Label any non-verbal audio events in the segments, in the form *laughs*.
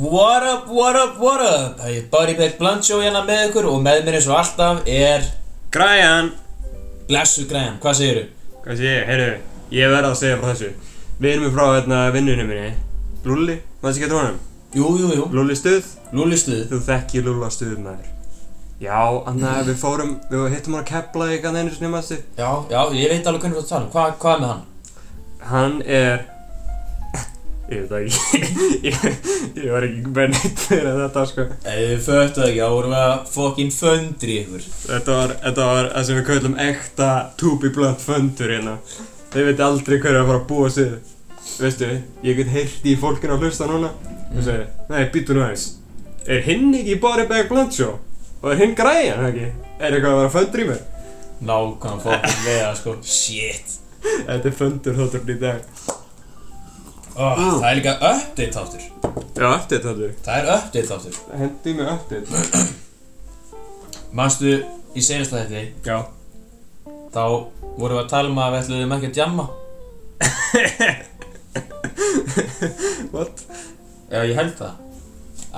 What up, what up, what up Það er Bari Pet Blandsjó hérna með ykkur og með mér eins og alltaf er Græjan, Blessu Graham, hvað segirðu? hvað sé ég, heyrðu, ég verð að segja frá þessu Við erum frá hérna vinnunum minni Lulli, maður sé ekki að honum Jú, jú, jú, Lulli stuð, Lúli stuð þú þekkir Lulla stuð maður Já, annað við fórum, við hittum hann að kepla í einu sinni maður Já, já, ég veit alveg hvernig þú ert að tala um, hvað, hvað er með hann? Hann er, ég veit það ekki, *laughs* ég, ég var ekki með neitt fyrir þetta sko Ef þið föttu það ekki, þá vorum við að fokkin föndri ykkur Þetta var, þetta var það sem við köllum ekta to be blunt fundur hérna Þeir veit aldrei hverju að fara að búa sig Veistu, ég get heyrt í fólkinu að hlusta núna Þú segir, nei, býtu nú aðeins Er hinn ekki í Bari Bag Blunt Show? Og er hinn græjan, ekki? Er eitthvað að vera fundur í mér? Nákvæm fokkin við það, sko Shit Þetta er fundur þátturinn í dag oh, Mm. Það er líka update þáttur Já, update þáttur Það er update þáttur Hendi mig update Manstu, í senasta þetta Já Þá vorum við að tala um að við ætluðum ekki að djamma *laughs* What? Já, ég held það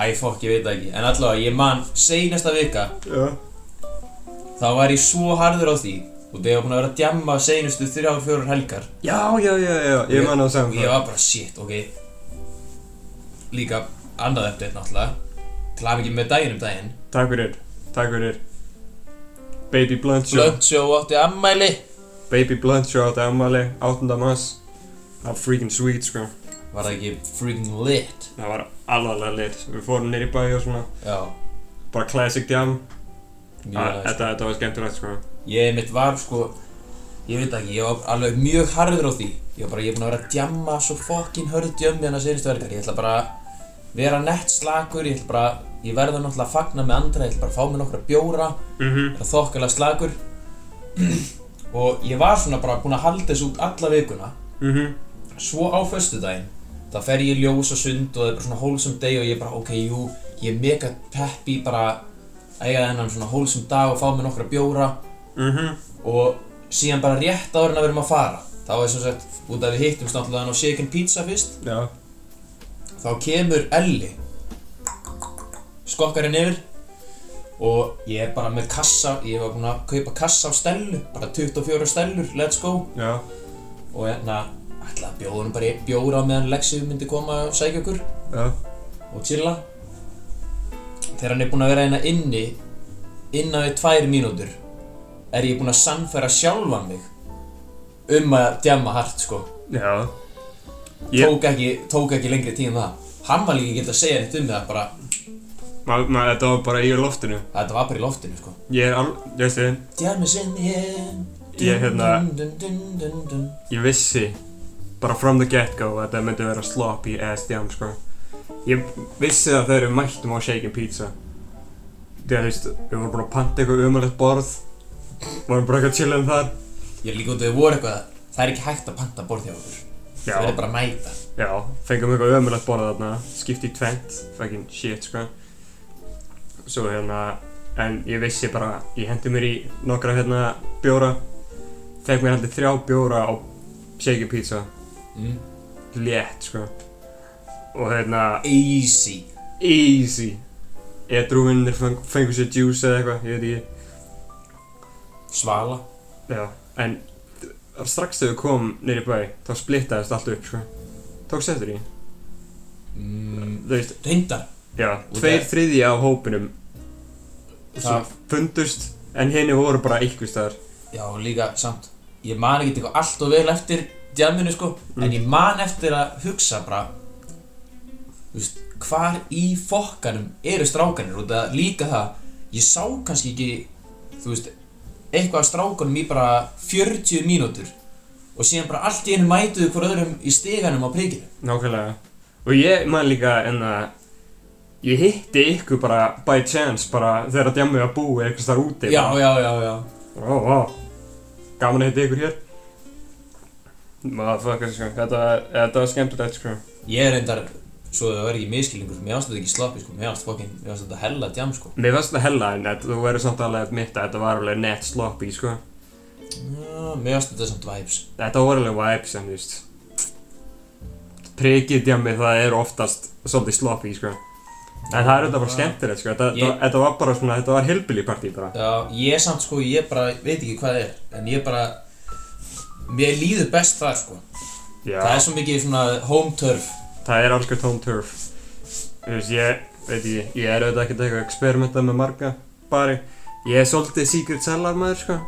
Æ, fokk, ég veit það ekki En allavega, ég man seinasta vika Já Þá var ég svo harður á því Og þegar ég var búinn að vera að djamma seinustu þrjár, fjórar helgar Já, já, já, já, ég man að Og segja um ég var bara, shit, ok Líka annað update náttúrulega Til að ekki með daginn um daginn Takk fyrir, takk fyrir Baby Blunt Show Blöndsjó átti ammæli Baby Blunt Show átti ammali 8. mass Það var freaking sweet sko Var það ekki freaking lit Það var alvarlega lit Við fórum nýri bæ og svona Já, Bara classic jam mjög Ah, næs. Þetta þetta var skemmtilegt sko Ég mitt var sko Ég veit ekki, ég var alveg mjög harður á því Ég var bara, ég er búinn að vera að djamma svo fokkin hörð djömmi hann að seinustu verkar Ég ætla bara að vera nett slakur Ég ætla bara, ég verða náttúrulega að fagna með andra Ég ætla bara að fá mér nokkra bjóra Mhm Ég er þokkalega slakur *clears throat* Og ég var svona bara búinn að halda þessu út alla vikuna Mhm Svo á föstudaginn Það fer ég í ljós og sund og það er bara svona wholesome day Og ég er bara, ok, jú, ég er mega peppi Bara að eiga þennan svona wholesome dag og fá mér nokkra bjóra Mhm og síðan bara rétt áður en að við erum að fara þá er sem sagt, út af við hittumst náttúrulega á Shaken Pizza fyrst Já þá kemur Elli skokkarinn yfir og ég er bara með kassa ég var búinn að kaupa kassa á stellu bara 24 stellur, let's go Já og hérna, ætlaði að bjóða hann bara í bjóra á meðan Lexi myndi koma og sækja okkur Já og chilla þegar hann er búinn að vera hérna inni innan við tvær mínútur er ég búinn að sannfæra sjálfan mig um að djamma hart sko Já Ég- tók, ekki, tók ekki lengri tíma það hann var líka ekki að segja neitt um það bara ma, ma, Þetta var bara í loftinu þetta var bara í loftinu sko Ég er al... Ég veist þið djammi sinni Ég, hérna- dun, dun, dun, dun. Ég vissi Bara from the get go að Þetta myndi vera sloppy ass jam sko Ég vissi það þegar við mættum á Shaken Pizza Þegar þú veist Við vorum búin að panta eitthvað umalegt borð Vorum bara eitthvað chillin þar ég er líka út að þau voru eitthvað það er ekki hægt að panta borð hjá okkur Já. það er bara að mæta Já, fengum eitthvað ömulegt borðað þarna, skipti í tvent, fucking shit, sko. Svo hérna, en ég vissi bara, ég hendi mér í nokkra hérna bjóra, fekk mér heldur þrjá bjóra á shaky pizza, mm. létt, sko. Og hérna, easy easy. Edrúvinnir feng, fengur sér juice eða eitthvað, ég veit ekki. svala Já, en strax þegar við komum niður í bæ, þá splittaðist allt upp, sko. Tókst eftir því? mm. Þú veist, reyndar Já, Og tveir það- þriðji af hópinum sem Það- fundust en henni voru bara einhver staðar Já, og líka samt Ég man ekki eitthvað allt og vel eftir djaminu sko En ég man eftir að hugsa bara Þú veist, hvar í fokkanum eru strákanir Út að líka það Ég sá kannski ekki Þú veist, eitthvað af strákanum í bara 40 mínútur Og síðan bara allt í einu mætuðu hver öðrum í stiganum á prikinu Nákvæmlega Og ég man líka en að ég hitti ykkur bara by chance bara þegar að djamið var búið einhver staðar úti Já, já, já, já Ó, ó, gaman að hitta ykkur hér Motherfucker, sko, þetta, þetta var skemmtilegt, sko Ég er reyndar, svo það verði ekki miskilingur Mér ástæði ekki slappi sko, mér ástæði fokkin Mér ástæði hella djam sko Mér varst það hella en þetta- þú verður samt alveg að mitta þetta var alveg net sloppy, sko Já, Mér ástæði samt vibes Þetta var alveg vibes en þú veist prikið djammi það er oftast svolítið sloppy sko En það er auðvitað bara skemmtilegt sko, þetta, Ég- þetta var bara svona, þetta var hillbilly partí bara Já, ég samt sko, ég bara veit ekki hvað það er En ég bara Mér líður best þar sko Já, Það er svo mikið svona home turf það er alls gett home turf Þú veist, ég, veit ég, ég er auðvitað ekkert eitthvað að experimenta með marga bari Ég er svolítið secret cellar maður sko,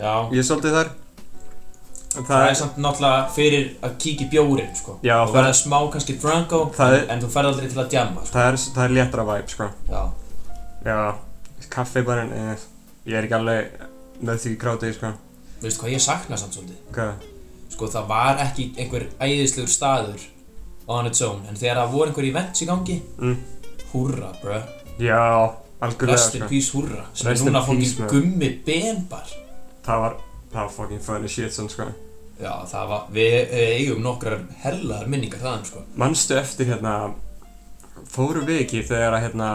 Já, ég er svolítið þar En það er samt náttúrulega fyrir að kíkja í bjórinn sko Já, Þú það- verða smá kannski drunk á Það er- en, en þú ferð aldrei til að djamma sko það er, það er léttra væp sko Já, Já, kaffibarinn, eh, ég er ekki alveg með því krátið, sko. veistu hvað ég sakna samt svolítið Hvað? Sko það var ekki einhver æðislegur staður on its own En þegar það voru einhver events í gangi Mm. Húrra, bruh Já, algjörlega, Rest in sko. peace, húrra Sem er Rest in núna peace, fókin maður. gummi benbar Það var, það var fucking funny shit, sann, sko. Já, það var, við eh, eigum nokkrar hellaðar minningar þaðan, sko. Manstu eftir, hérna, fóru við ekki þegar að, hérna,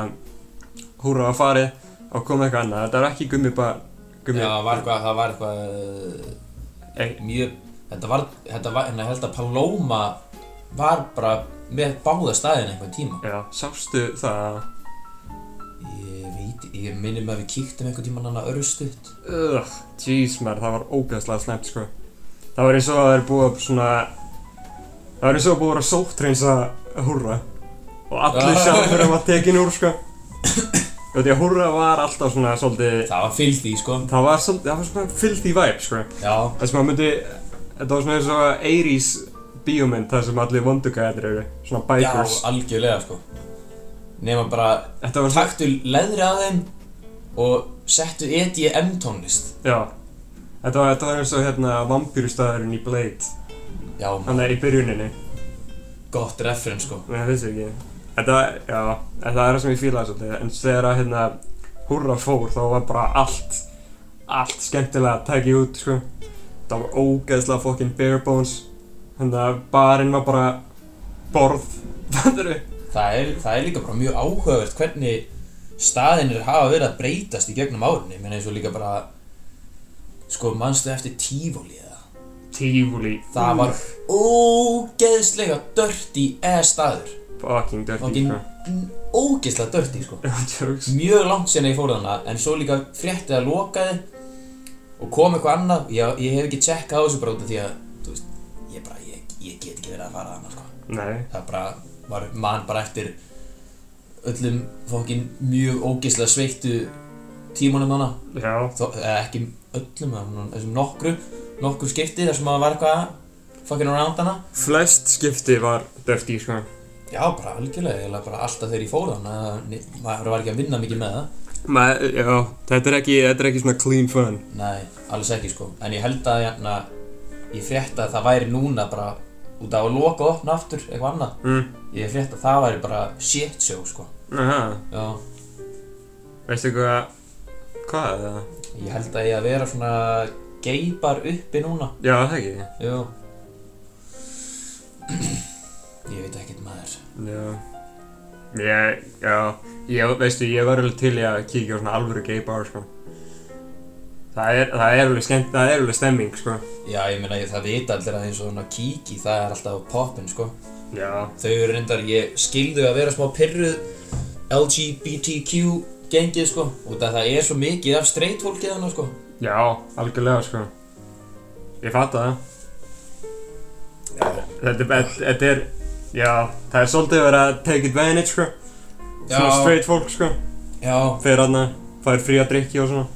húra var farið og kom eitthvað annað. Þetta var ekki gummi bara, gummi. Já, það var eitthvað, það var eitthvað, Ei, eh, mjög, þetta var, þetta var, hérna, ég held að Paloma var bara með báða staðin einhvern tíma. já, sástu það, Ég veit, ég minnir mig að við kíktum einhvern tíma hann að örstuðt. ugh, jeez, maður, það var ógeðslega slæmt, sko. Það var eins og að það er búið að svona, það var eins og að búið að sóttreynsa húra og allir Ah. sjálfur var tekin úr, sko. Þú veit, ég, húra var alltaf svona, svolítið, Það var fyllt í, sko. Það var svolítið, það var svona filthy vibe, sko. Já, Það sem maður myndi, þetta var svona eins og 80s bíómynd, það sem allir vondugæðir eru, svona já, bikers. algjörlega, sko. Nefna bara, Þetta var svona, taktu leðri að þeim og settu EDM tónlist. já. Þetta var, þetta var eins og hérna vampýrustæðurinn í Blade, Já, hann er í byrjuninni, gott referens, sko. það finnst ekki. Þetta, já, en það er það sem ég fílaði svolítið, en þegar að hérna hurra fór þá var bara allt, allt skemmtilega að tekið út, sko. Það var ógeðslega fokkin bare bones, hérna barinn var bara borð, *laughs* fattur það er, það er líka bara mjög áhugavert hvernig staðinir hafa verið að breytast í gegnum árunni, menn eins og líka bara sko, manstu eftir tífóli eða, Tífúli það var ógeðslega dirty ass staður Fucking dirty Fucking- sko. N- ógeðslega dirty sko Já, *laughs* jokes mjög langt sérna ég fór þarna en svo líka fréttið að lokaði og kom eitthvað annað, ég, ég hef ekki tjekkað á þessu bara út af því að þú veist, ég bara, ég, ég get ekki verið að fara þarna sko Nei það bara var mann bara eftir öllum fokkin mjög ógeðslega sveittu tímanum hana Já Þó, eða ekki öllum, eða svona þessum nokkru nokkru skipti þar sem að var eitthvað fucking around hana Flest skipti var dirty sko já, bara algjörlega, ég bara alltaf þegar ég fór hana ne- maður var ekki að vinna mikið með það Ma, Já, þetta er ekki, þetta er ekki svona clean fun nei, alls ekki sko en ég held að hérna, ég frétta að það væri núna bara út af að loka og opna aftur eitthvað annað mm. ég frétta að það væri bara shit show sko Aha, já, veistu hvað Hvað eða? ég held að ég að vera svona geibar uppi núna Já, það ekki Jú Ég veit ekkert maður Já Ég, já Ég, veistu, ég var alveg til í að kíkja á svona alvöru gay bar sko Það er, það er alveg skemmt, það er alveg stemming sko Já, ég meina, ég- það vita allir að eins og svona kíki, það er alltaf poppin, sko Já Þau eru reyndar, ég skildu að vera smá pyrruð LGBTQ gengið, sko Út að það er svo mikið af straight fólkið hana, sko Já, algjörlega sko Ég fatta það Þetta er, þetta- þetta er, já, það er svolítið verið að take advantage, sko. Svona straight fólk, sko. já Fyrir aðna, fær frí að drikki og svona.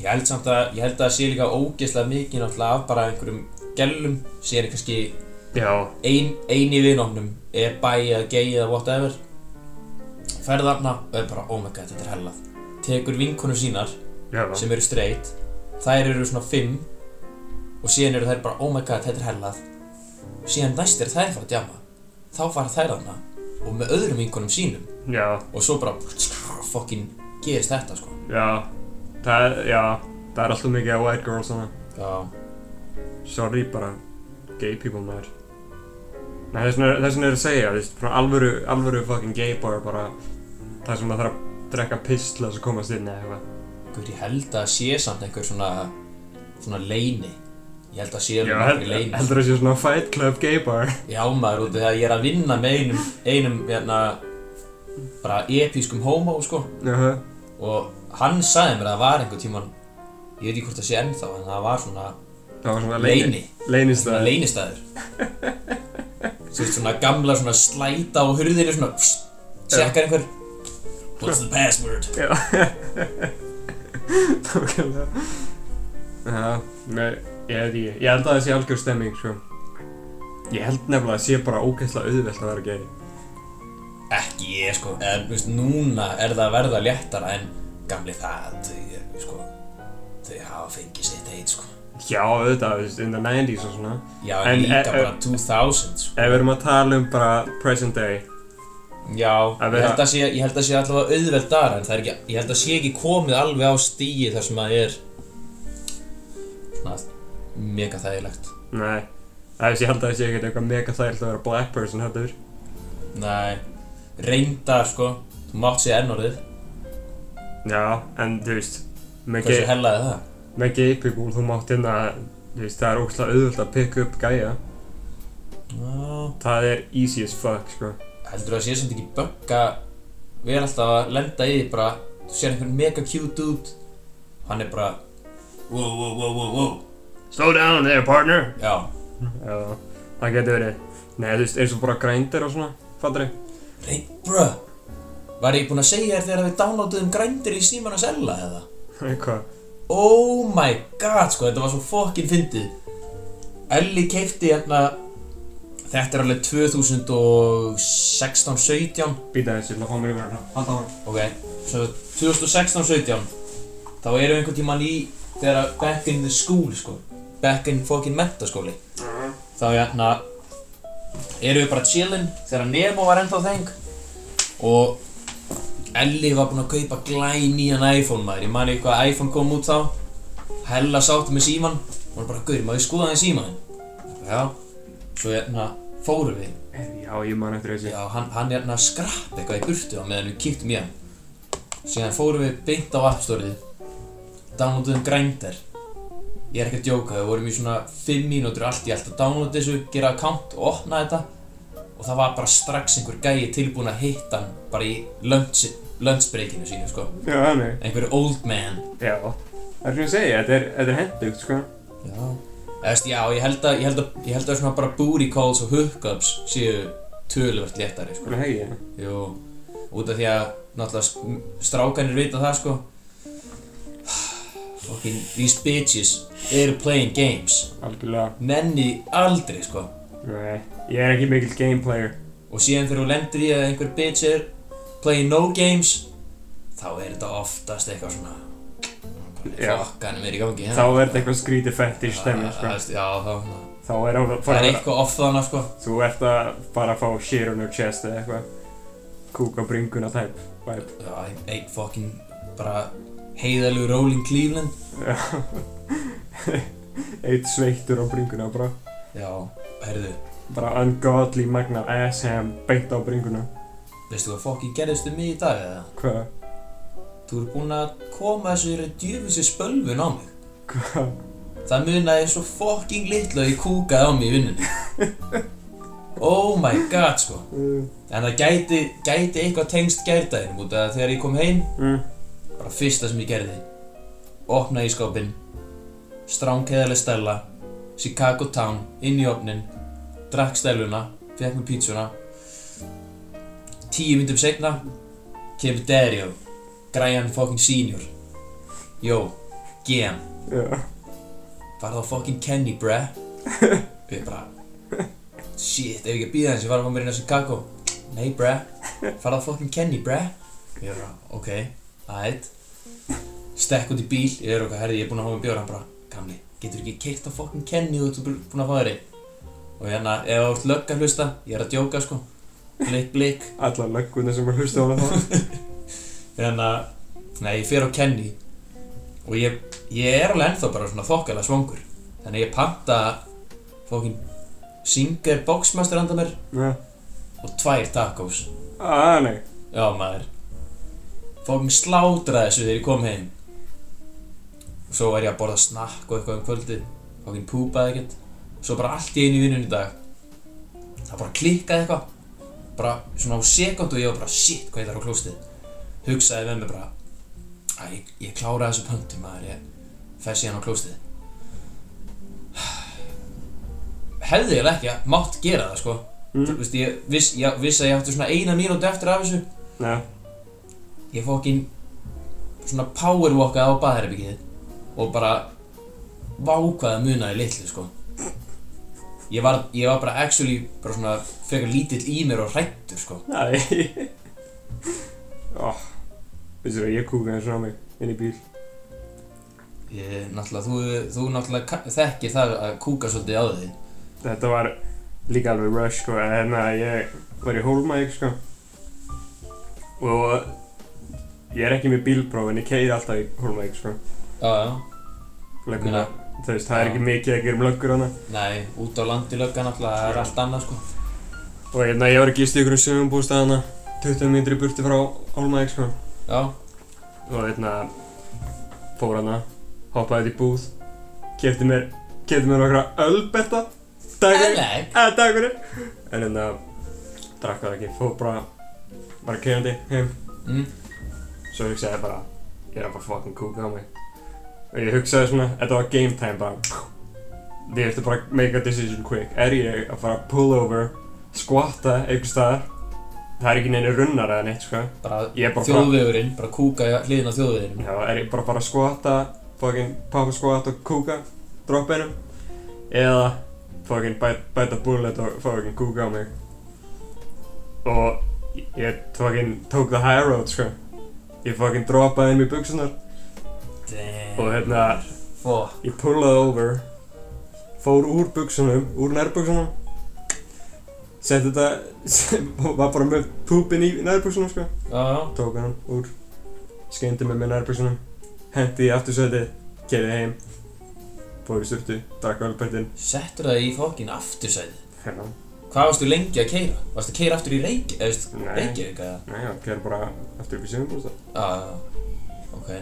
Ég held samt að, ég held að það sé líka ógeðslega mikið náttúrulega af bara einhverjum gellum Sér kannski Já. ein, ein í vinofnum er bæ eða gay eða whatever fer þarna og er bara oh my god þetta er hellað tekur vinkonur sínar Já. sem eru straight þær eru svona fimm og síðan eru þær bara oh my god þetta er hellað síðan næst er þær fara að djama þá fara þær þarna og með öðrum vinkonum sínum Já, og svo bara fokkin gerist þetta sko já. Það er, já, það er alltaf mikið að white girl svona. já, Sorry bara, gay people maður. Nei, þess vegna er- þess vegna er að segja, þú veist, svona alvöru, alvöru fucking gay bar bara, það sem maður þarf að drekka piss til þess að komast inn eða eitthvað. guður ég held að sé samt einhver svona svona leini Ég held að sé alveg Já, nokkri held- leynir. heldur það sé svona fight club gay bar Já maður, út af því að ég er að vinna með einum, einum, hérna, bara episkum homo, sko Jaha, Og hann sagði mér að það var einhver tíman, ég veit ekki hvort það sé ennþá, en það var svona það var svona leyni leyni, svona Leynistæð leynistæður Svo veist svona gamla svona slæta á hurðinu svona, pst, sekkar einhver What's the password? Já *laughs* Nákvæmlega Já, nei, ég veit ekki Ég held að það sé algjör stemming, sko Ég held nefnilega að það sé bara ógeðslega auðvelt að vera gay Ekki ég, sko, en þú veist, núna er það að verða léttara en gamli það, þau, eru, sko, þau hafa fengið sitt heit, sko Já, auðvitað, þú veist, in the 90s og svona Já, En, en líka eh, bara 2000, sko Ef við erum að tala um bara present day Já, að ég vera- held að sé, ég held að sé allavega auðveldara en það er ekki, ég held að sé ekki komið alveg á stíi þar sem að er svona mega þægilegt Nei, það veist, ég held að það sé ekkert eitthvað mega þægilt að vera black person heldur Nei, reyndar, sko, þú mátt sé orðið Já, en þú veist Með hversu gay, hellaði það? með gay people, þú mátt hérna Þú veist, það er ógeðslega auðvelt að pick up gæja Já, Það er easy as fuck, sko heldur að sé samt ekki bögga við erum alltaf að lenda í því bara þú sér einhvern mega cute út hann er bara wow wow wow wow wow Slow down there, partner já Já, það getur verið. Nei, þú veist, eins og bara grændir og svona, fattur ég? rey bruh var ég búinn að segja þér þegar við downloaduðum grændir í síman að selja eða *laughs* Eitthvað. oh my god sko þetta var svo fokkin fyndið Ellie keipti hérna þetta er alveg 2016-17 Býta þessi, ég ætla að fá mér yfir hérna. Halda á hann. Ok, svo 2016-17 Þá erum við einhvern tíman í Þegar að back in the school sko Back in fucking mentaskóli Þá hérna Erum við bara chillin Þegar Nemo var ennþá þeng Og Ellie var búin að kaupa glæ nýjan iPhone maður Ég mani hvað iPhone kom út þá Hella sátti með síman Hún bara, gaur, maður skoða þið síman Já Svo hérna fórum við Já, ég man eftir þessi. Já, hann, hann er hann að skrappa eitthvað í burtu á meðan við kíktum í hann Síðan fórum við beint á App Store-ið Downloaduðum Grindr Ég er ekki að djóka, við vorum í svona 5 mínútur allt í allt að downloada þessu, gera account og opna þetta og það var bara strax einhver gæi tilbúin að hitta hann bara í lunch, lunchbreakinu sínu, sko Já, þannig. Einhver old man Já. Það er svona að segja, þetta er, þetta er hendugt, sko. Já Eða veist, já, ég held að, ég held að, ég held að svona bara booty calls og hookups séu töluvert léttari, sko Svona hegi, já. Jú, út af því að náttúrulega st- strákanir vita það sko Fucking these bitches eru playing games Algjörlega. Nenni aldrei sko Nei, ég er ekki mikill game player. Og síðan þegar þú lendir í að einhver bitch er playing no games Þá er þetta oftast eitthvað svona Já. Fokkanum er í gangi Þá er þetta eitthvað skrítið fetish stemming, sko. Já, þá Þá er það Það bara er eitthvað off þarna sko Þú ert að bara fá shit on your chest eða eitthvað. Kúka bringuna type *laughs* vibe. Já, einn fucking bara heiðalegu Rolling Cleveland Já. Eitt sveittur á bringuna bara. Já, herðu bara ungodly magna ass ham beint á bringuna Veistu hvað fokkin gerðist um mig í dag eða? hvað, Þú ert búinn að koma þessu djöfisir spölvun á mig. hvað Það munaði svo fucking litlu að ég kúkaði á mig í vinnunni. Oh my god, sko. mm. En það gæti, gæti eitthvað tengst gærdaginum út af að þegar ég kom heim, Mm. bara fyrsta sem ég gerði, opnaði í skápinn, stránkæðarlega stella, Chicago Town, inn í opnin, drakk stelluna, fekk mér pítsuna. Tíu myndum segna, kemur Dario, græjan fucking senior. Jó, GM. já, var það fucking Kenny bre við bara shit, ef ég ekki að býða hans, ég var að fá mér inn á Chicago nei bre, var það fucking Kenny bre ég bara, ok, aðeitt stekk út í bíl, ég er okkar herði, ég er búinn að fá mér bjóra hann bara, gamli, getur ekki keirt á fucking Kenny og þú ert búinn að fá þér einn?" og hérna, ef þú ert lögg að hlusta ég er að djóka sko, blik blik alla lögguna sem er hlustu á það hérna, nei, ég fer á Kenny og ég, ég er alveg ennþá bara svona þokkalega svangur þannig ég panta fókin Singer Boxmaster handa mér já, og tvær tacos að nei já maður fókin slátraði þessu þegar ég kom heim og svo var ég að borða snakk og eitthvað um kvöldi fucking púpaði ekkert svo bara allt í einu í vinnunni í dag það bara klikkaði eitthvað bara svona á sekundu og ég var bara shit hvað ég þarf á klóstið hugsaði með mér bara að ég, ég kláraði þessu pöntum maður ég fer síðan á klóstið hefði ég ekki mátt gera það sko Mm. þú veist ég viss, ég viss að ég átti svona eina mínútu eftir af þessu Já, ég fokkin svona powerwalkaði á baðherbyggið og bara vákaði munaði litlu sko ég var, ég var bara actually bara svona frekar lítill í mér og hrættur sko næ *laughs* Ó, veistu hvað, ég kúka eins og á mig inn í bíl ég, náttúrulega þú, þú náttúrulega ka- þekkir það að kúka svolítið á því Þetta var líka alveg rush sko, en hérna ég var í Hólmæk sko og eh, ég er ekki með bílpróf en ég keiri alltaf í Hólmæk sko já já lögguna, Meina- þú veist, það er ekki mikið að gera um löggur hana nei út á landi lögga náttúrulega það er allt annað sko og hérna ég var ekki í ykkur um sögumbústað hana 20 mínútur í burti frá Hólmæk sko já og hérna fór hana, hoppaði út í búð kefti mér, kefti mér nokkra ölberta en dagurinn, nei eða dagurinn en hérna, drakk það ekki, fór bara bara keirandi heim mm, Svo hugsaði ég bara, ég er að bara fucking kúka á mig Og ég hugsaði svona, þetta var game time bara Þið ertu bara að make a decision quick Er ég að fara að pull over, squatta einhvers staðar Það er ekki neina runnar eða neitt, sko bara Ég er bara að fara, þjóðvegurinn bara kúka í hliðin á þjóðveginum já, er ég bara að fara að squatta Fucking poppa squat og kúka Droppa einum Eða fucking bæ- bæta bullet og fucking kúka á mig Og ég fucking tók the high road, sko Ég fucking droppaði einum í buksunar Og hérna, fó Ég pullaði over Fór úr buksunum, úr nærbuksunum Sett þetta *laughs* Var bara með púpin í nærbuksunum sko já já Tók hann úr Skeindi mig með nærbuksunum Hendi í aftursæti Kerði heim Fór í sturtu Drakk ölbertin settur það í fokkin aftursæði Hérna Hvað varstu lengi að keira? Varstu að keira aftur í Reykj... eða veist, Nei. Reykjavík eða? Nei, hann kerði bara Eftir upp í sjöfum bústa Já, já, já, ok.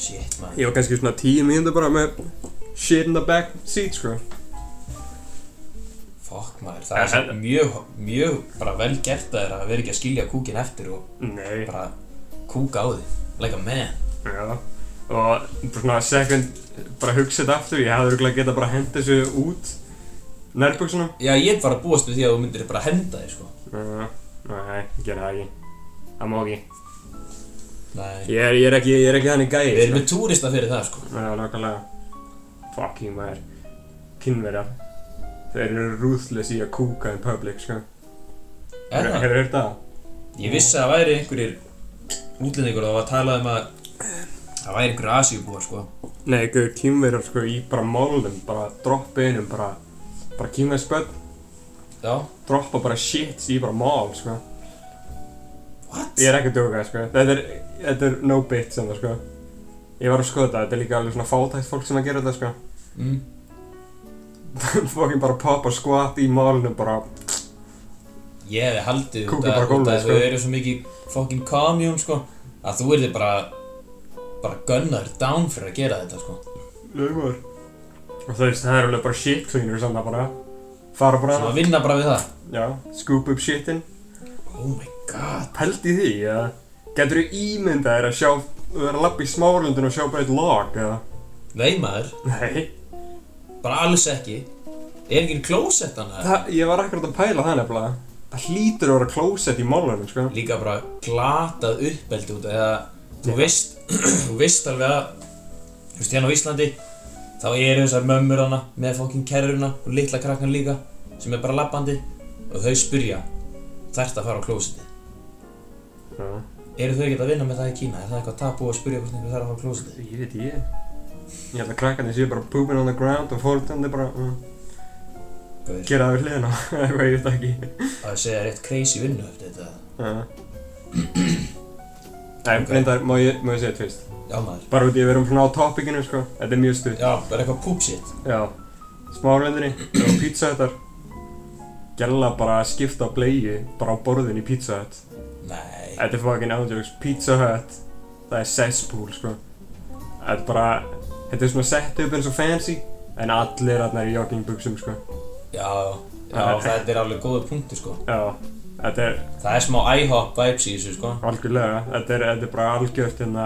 Shit, man. Ég var kannski svona tíu mínútur bara með Shit in the back seat sko Fuck, maður. Það er svo En- mjög, mjög bara vel gert að þeirra að vera ekki að skilja kúkin eftir og Nei bara kúka á því. Like a man. Já, og bara svona second, bara hugsa þetta aftur, ég hefði örgulega getað bara hent þessu út nærbuksunum. Já, ég var að búast við því að þú myndir bara henda því, sko. Nei, nei, ég gerði það ekki. Það má ekki. Nei. Ég er, ég er ekki, ég er ekki þannig gæi. sko. Við erum með túrista fyrir það, sko. Já, nákvæmlega. Fucking maður. Kynverjar. Þeir eru ruthless í að kúka in public, sko. Er það? Hefur heyrt það? Ég vissi að það væri einhverjir útlendingur og það var að tala um að Eh. það væri einhverjir asjubúar, sko. Nei, ykkur kynverjar, sko, í bara málum, bara droppa einum, bara, bara kynverjar spöld, Já. droppa bara shit í bara mál, sko. What? Ég er ekki að djóka, sko. Þetta er, þetta er no bit sem það, sko. Ég var að skoða þetta, þetta er líka alveg svona fátækt fólk sem að gera þetta, *laughs* Mm. sko. Fokkin bara poppa skvat í málunum, bara, Ég hefði haldið Kúka bara út gólfið, að sko. þau eru svo mikið fucking commune sko að þú erði bara bara gunnar down fyrir að gera þetta sko lögumar. Og þú veist, það er alveg bara shit cleaner sem það bara, fara bara, sem að vinna bara við það já, scoop upp shitin. Oh my god Pældi í því, eða getur þú ímyndað þér að sjá, vera að lappa í smálundin og sjá bara eitt lag, eða? Nei maður, Nei. bara alls ekki Er enginn klósett hann það? Það, ég var akkurat að pæla það nefnilega. Það hlýtur að vera klósett í málunum, sko. Líka bara glatað uppeldi út af- eða þú Já. veist *clears throat* þú veist alveg að þú veist hérna á Íslandi þá eru þessar mömmur hana með fucking kerruna og litla krakkan líka sem er bara labbandi og þau spyrja þert að fara á klósetti Já. Eru þau ekkert að vinna með það í Kína? Er það eitthvað tabú að spyrja hvort einhver þarf að fara á klósetið? Ég veit ég Ég held að krakkarnir séu bara pooping on the ground og fórhaldandi bara mm, Gauðir, gera það við hliðina *laughs* eitthvað ég veit það ekki að þau segja rétt crazy vinnu eftir þetta. Já. Nei, Ok. reyndar, má ég, má ég segja tvist Já maður. Bara út í að við erum svona á topikinu, sko Þetta er mjög stutt Já, bara eitthvað poop shit. Já Smárlendinni, það var pizza þetta Gjalla bara að skipta á bleiði bara á borðin í Pizza Hut Nei. Þetta er fucking ándjóks Pizza Hut Það er cesspool, sko Þetta er bara Þetta er svona sett upp eins og fancy En allir þarna í joggingbuxum, sko. Já, já, Já. þetta er alveg góður punktur sko Já, þetta er Það er smá IHOP vibes í þessu sko algjörlega, þetta er, þetta er bara algjört hérna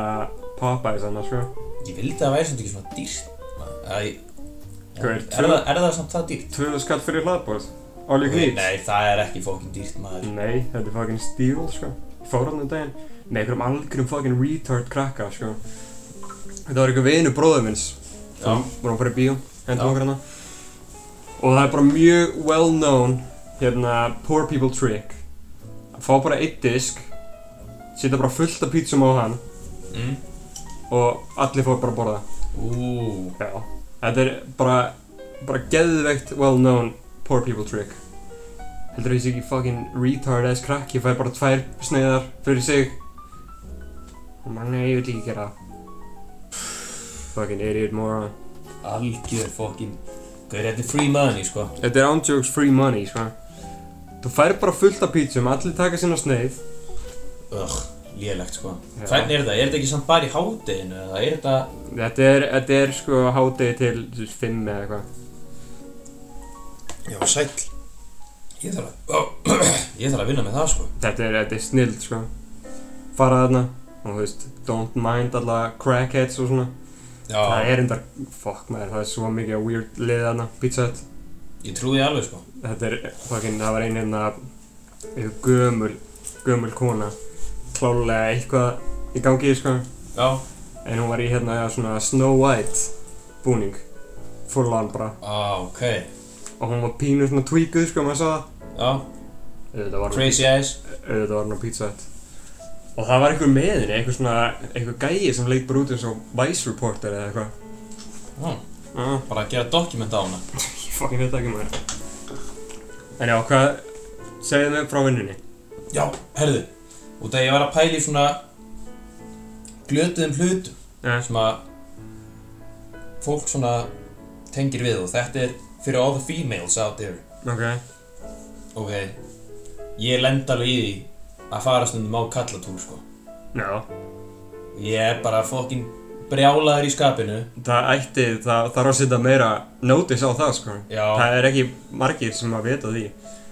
Popeyes annars, sko. Ég vildi að það væri svona ekki svona dýrt maður. Æ, já, Hvað er er, tvö- það, er það samt það dýrt? Tvöðu skall fyrir hlaðbóð. All you can eat. Nei, það er ekki fókin dýrt maður Nei, þetta er fucking steal, sko. Ég fór hann um daginn með einhverjum algjörum fucking retard krakka, sko. Þetta var einhver vinu bróður minns. Já. Vorum að fara í bíó, Já. hendum okkur hana. Og það er bara mjög well known, hérna, poor people trick. Að fá bara eitt disk, setja bara fullt af pítsum á hann mm. og allir fór bara að borða. Ú, Já. Þetta er bara, bara geðveikt well known poor people trick. Heldur þessi ekki fucking retard ass krakki fær bara tvær sneiðar fyrir sig. Og bara nei, ég vil ekki gera það. Fucking idiot moron. algjör fókin Gauður, þetta er free money sko Þetta er ándjóks free money, sko. Þú fær bara fullt af pítsum, allir taka sína sneið. Ugh, lélegt sko Já. Hvernig er það? Er þetta ekki samt bara í hádeginu eða er þetta Þetta er, þetta er sko hádegi til þú veist, fimm eða eitthvað. Já, sæll Ég þarf að *coughs* Ég þarf að vinna með það sko Þetta er, þetta er snild, sko. Fara þarna og þú veist, don't mind alla crackheads og svona. Já, Það er endar, fokk maður, það er svo mikið weird lið hana, Pizza Hut ég trúi því alveg sko Þetta er, fucking, það var ein hérna einhver gömul, gömul kona klálega eitthvað í gangi, sko Já, en hún var í hérna svona Snow White búning full on bara ah, ok og hún var pínu svona tweakuð, sko, maður sá það Já, auðvitað var hún, crazy eyes auðvitað var hún á Pizza Hut og það var einhver með henni, einhver svona einhver gæi sem leit bara út eins og Vice Reporter eða eitthvað Já, ah. Bara að gera dokument á hana Ég fucking veit það ekki maður En já, hvað segðu mig frá vinnunni? Já, herðu Út af ég var að pæla í svona Glötuðum hlutum Já, Sem að Fólk svona tengir við og þetta er Fyrir all the females out there ok Ok Ég lend alveg í því Að fara stundum á kallatúr sko Já, Ég er bara fokkin brjálaður í skapinu það ætti, það þarf að setja meira notice á það sko Já, Það er ekki margir sem að vita því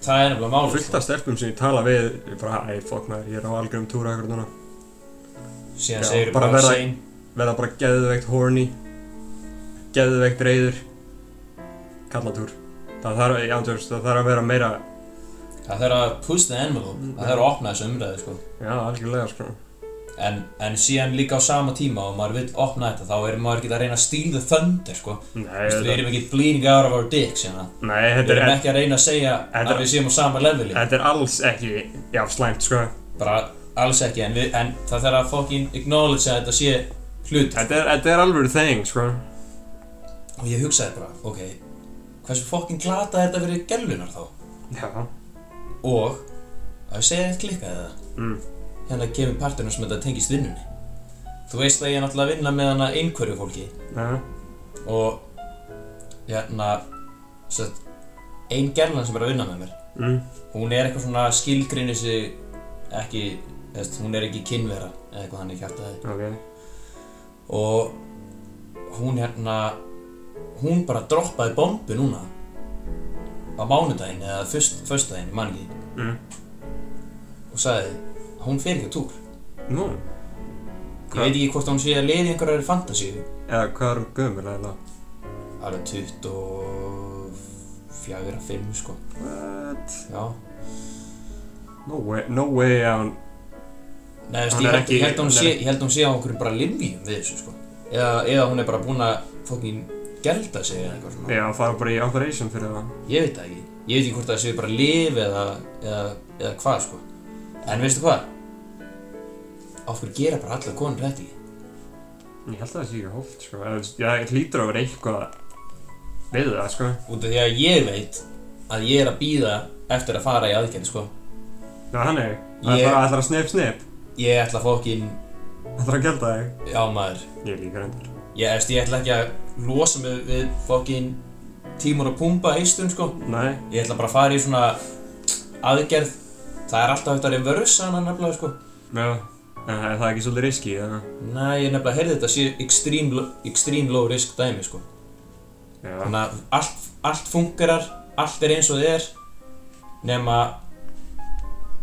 það er nefnilega sko. mál Fullt af stelpum sem ég tala við, ég bara, æ, fokk maður, ég er á algjörum túra akkur núna Síðan Já, segir bara bara verða- sein Verða bara geðveikt horny Geðveikt reyður Kallatúr Það þarf, já, tjóðs, það þarf að vera meira Það þarf að push the Mm. envelope Það þarf að opna þessu umræðu sko Já, algjörlega sko en, en síðan líka á sama tíma og maður vill opna þetta þá er maður ekki að reyna að steal the thunder sko Nei, Vist, Við þetta, erum ekki bleeding out of our dicks hérna nei, Við þetta er, erum ekki að reyna að segja Þetta er- að við séum á sama leveli þetta er alls ekki, já, slæmt sko Bara alls ekki en, við, en það þarf að fucking acknowledge að þetta sé hlut Þetta er, þetta er alveg þeng, sko. Og ég hugsaði bara, ok Hversu fucking glata er þetta fyrir gellunar þá? Já. Og að ég segja eitt klikkaði það Mm. Hérna kemur parturinn sem þetta tengist vinnunni Þú veist að ég er náttúrulega að vinna með hana einhverju fólki Já. og hérna sem sagt, ein gerlan sem er að vinna með mér Mm. hún er eitthvað svona skilgrinni sig ekki, þess, hún er ekki kynvera eða eitthvað hann er kjartaði Ok. og hún hérna hún bara droppaði bombu núna á mánudaginn eða fyrst, fyrstdaginn, ég man ekki Mm. og sagði að hún fer ekki á túr Nú. ég veit ekki hvort hún sé að leiði einhverjar fantasíu Eða hvað er hún gömur eða? alveg 24 5 sko, What? já No way, no way að hún... Nei, veist, Hún ég, er held, ekki- ég, held að hún hún er sé, ég held að hún sé á einhverjum bara limvíum við þessu sko eða, eða hún er bara búin að fókin gelda sig eða eitthvað svona Já, hún fara bara í operation fyrir það. Ég veit það ekki, ég veit ekki hvort það sé bara lif eða, eða, eða hvað sko En veistu hvað? Á hverju gera bara allar konur þetta ekki? Ég held að það sé ekki hóft, sko. Eða, þú veist, já, það hlýtur að vera eitthvað við það, sko. Út af því að ég veit að ég er að býða eftir að fara í aðgerð sko Já, hann er. Það Ég- ætlar ætlar að snip, snip. Ég ætla að fókin, Ætlar að gelda þig. já maður Ég líka reyndar. Ég, veist, ég ætla ekki að losa mig við fókin tímur og pumpa eistun sko Nei. Ég ætla bara að fara í svona aðgerð Það er alltaf hægt að reversa hana nefnilega sko Já. En það er það ekki svolítið riski, þannig. Nei, ég nefnilega heyrði þetta sé extreme, lo- extreme low risk dæmi sko Já, Þannig að allt, allt fungerar, allt er eins og þið er Nema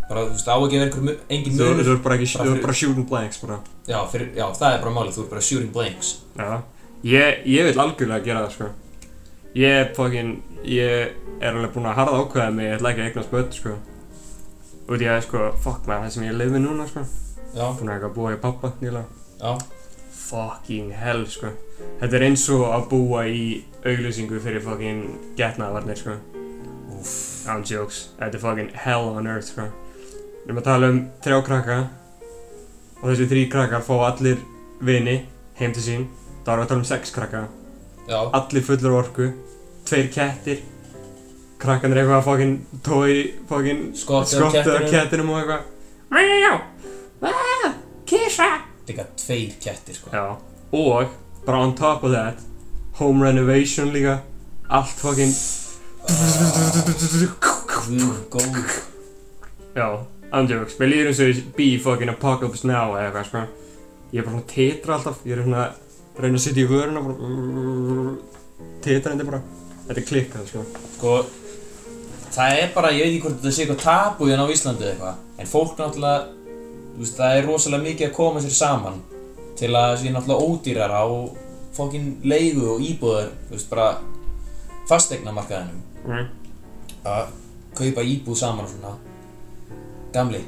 Bara, þú veist, á ekki að vera einhver, mu- engin þú munur þú ert bara ekki, Bara þú fyrir- ert bara shooting blanks bara já, fyrir, já, það er bara málið, þú er bara shooting blanks Já, ég, ég vil algjörlega gera það sko Ég fokkin, ég er alveg búinn að harða ákveða mig, ég ætla ekki að eignast börn sko Út í að sko, fokk maður, það sem ég lifi núna sko Já, Búinn að eitthvað búa í pappa nýlega já, Fucking hell sko Þetta er eins og að búa í auglýsingu fyrir fokkin getnaðvarnir sko úff I'm jokes, þetta er fokkin hell on earth sko Við erum að tala um þrjá krakka Og þessi þrý krakkar fá allir vini heim til sín Það erum við að tala um sex krakka Já, allir fullur af orku, tveir kettir, krakkan er eitthvað að fokkin tói, fokkin Skottið á skottið af kettinum. kettinum og eitthvað. Ah, Mjá, aaa, kissa. líka tveir kettir, sko Já, og bara on top of that, home renovation líka, allt fokkin, Guð, góð já, andjöfux, mér líður eins og ég bí fokkin apocalypse now eða eitthvað, sko. Ég er bara svona að titra alltaf, ég er svona að reyna að sitja í vöruna, bara, titrandi bara, þetta er klikkað, sko. Sko, það er bara, ég veit ekki hvort þetta sé eitthvað tabu hérna á Íslandi eða eitthvað En fólk náttúrulega, þú veist, það er rosalega mikið að koma sér saman Til að það sé náttúrulega ódýrara á fokkin leigu og íbúðar, þú veist, bara fastegnamarkaðinum Mm. að kaupa íbúð saman og svona Gamli,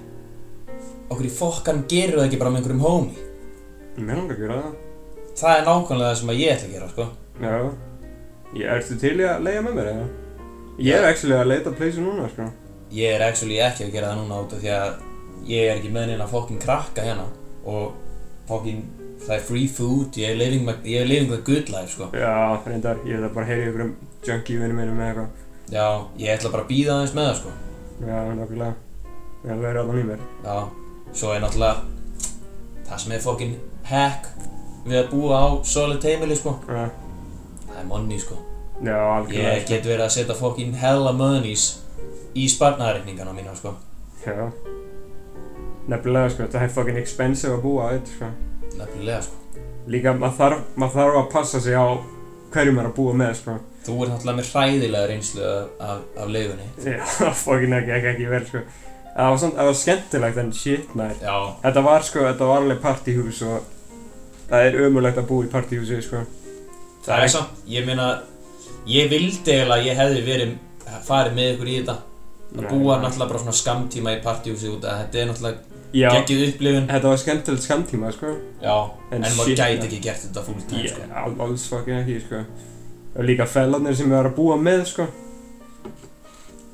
okkur í fokkanum gerir það ekki bara með einhverjum homie Mér langar að gera það. Það er nákvæmlega það sem að ég ætla að gera, sko Já, ég ertu til í að leiða með mér eða? Ég er actually að leita pleysi núna, sko. Ég er actually ekki að gera það núna út af því að ég er ekki með neina fokkin krakka hérna og fokkin, það er free food, ég er living, my, ég er living the good life sko. Já, reyndar, ég ætla bara að heyra í ykkur um junkie vinnu mínum eða eitthvað. Já, ég ætla bara að býða aðeins með það sko. Já, nokkulega. Já, það er allan í mér. Já, svo er náttúrulega það sem er fokkin hack við að búa á solid heimili sko. Já, Það er money sko. já algjörlega. Ég get verið að setja fokkin hella monies í sparnaðarreikningana mína sko. Já. Nefnilega, sko, það er fucking expensive að búa á þetta, sko. Nefnilega sko. Líka, maður þarf, maður þarf að passa sig á hverjum er að búa með, sko. Þú ert náttúrulega með hræðilega reynslu af, af, af leifunni. Já, fucking ekki, ekki, ekki vel, sko. Það var samt, það var skemmtilegt en shit, maður. Já, Þetta var sko, þetta var alveg partíhús og það er ömulegt að búa í partíhúsi sko. Það er samt, ég meina, ég vildi eiginlega að ég hefði verið farið með ykkur í þetta að Nei, búa nei. náttúrulega bara svona skamtíma í partíhúsi út að þetta er náttúrulega Já, geggjuð upplifun þetta var skemmtilegt skamtíma sko. Já, En en maður shit, gæti nei. ekki gert þetta full time sko. Ég, al- alls fucking ekki sko. Og líka fellarnir sem ég var að búa með sko.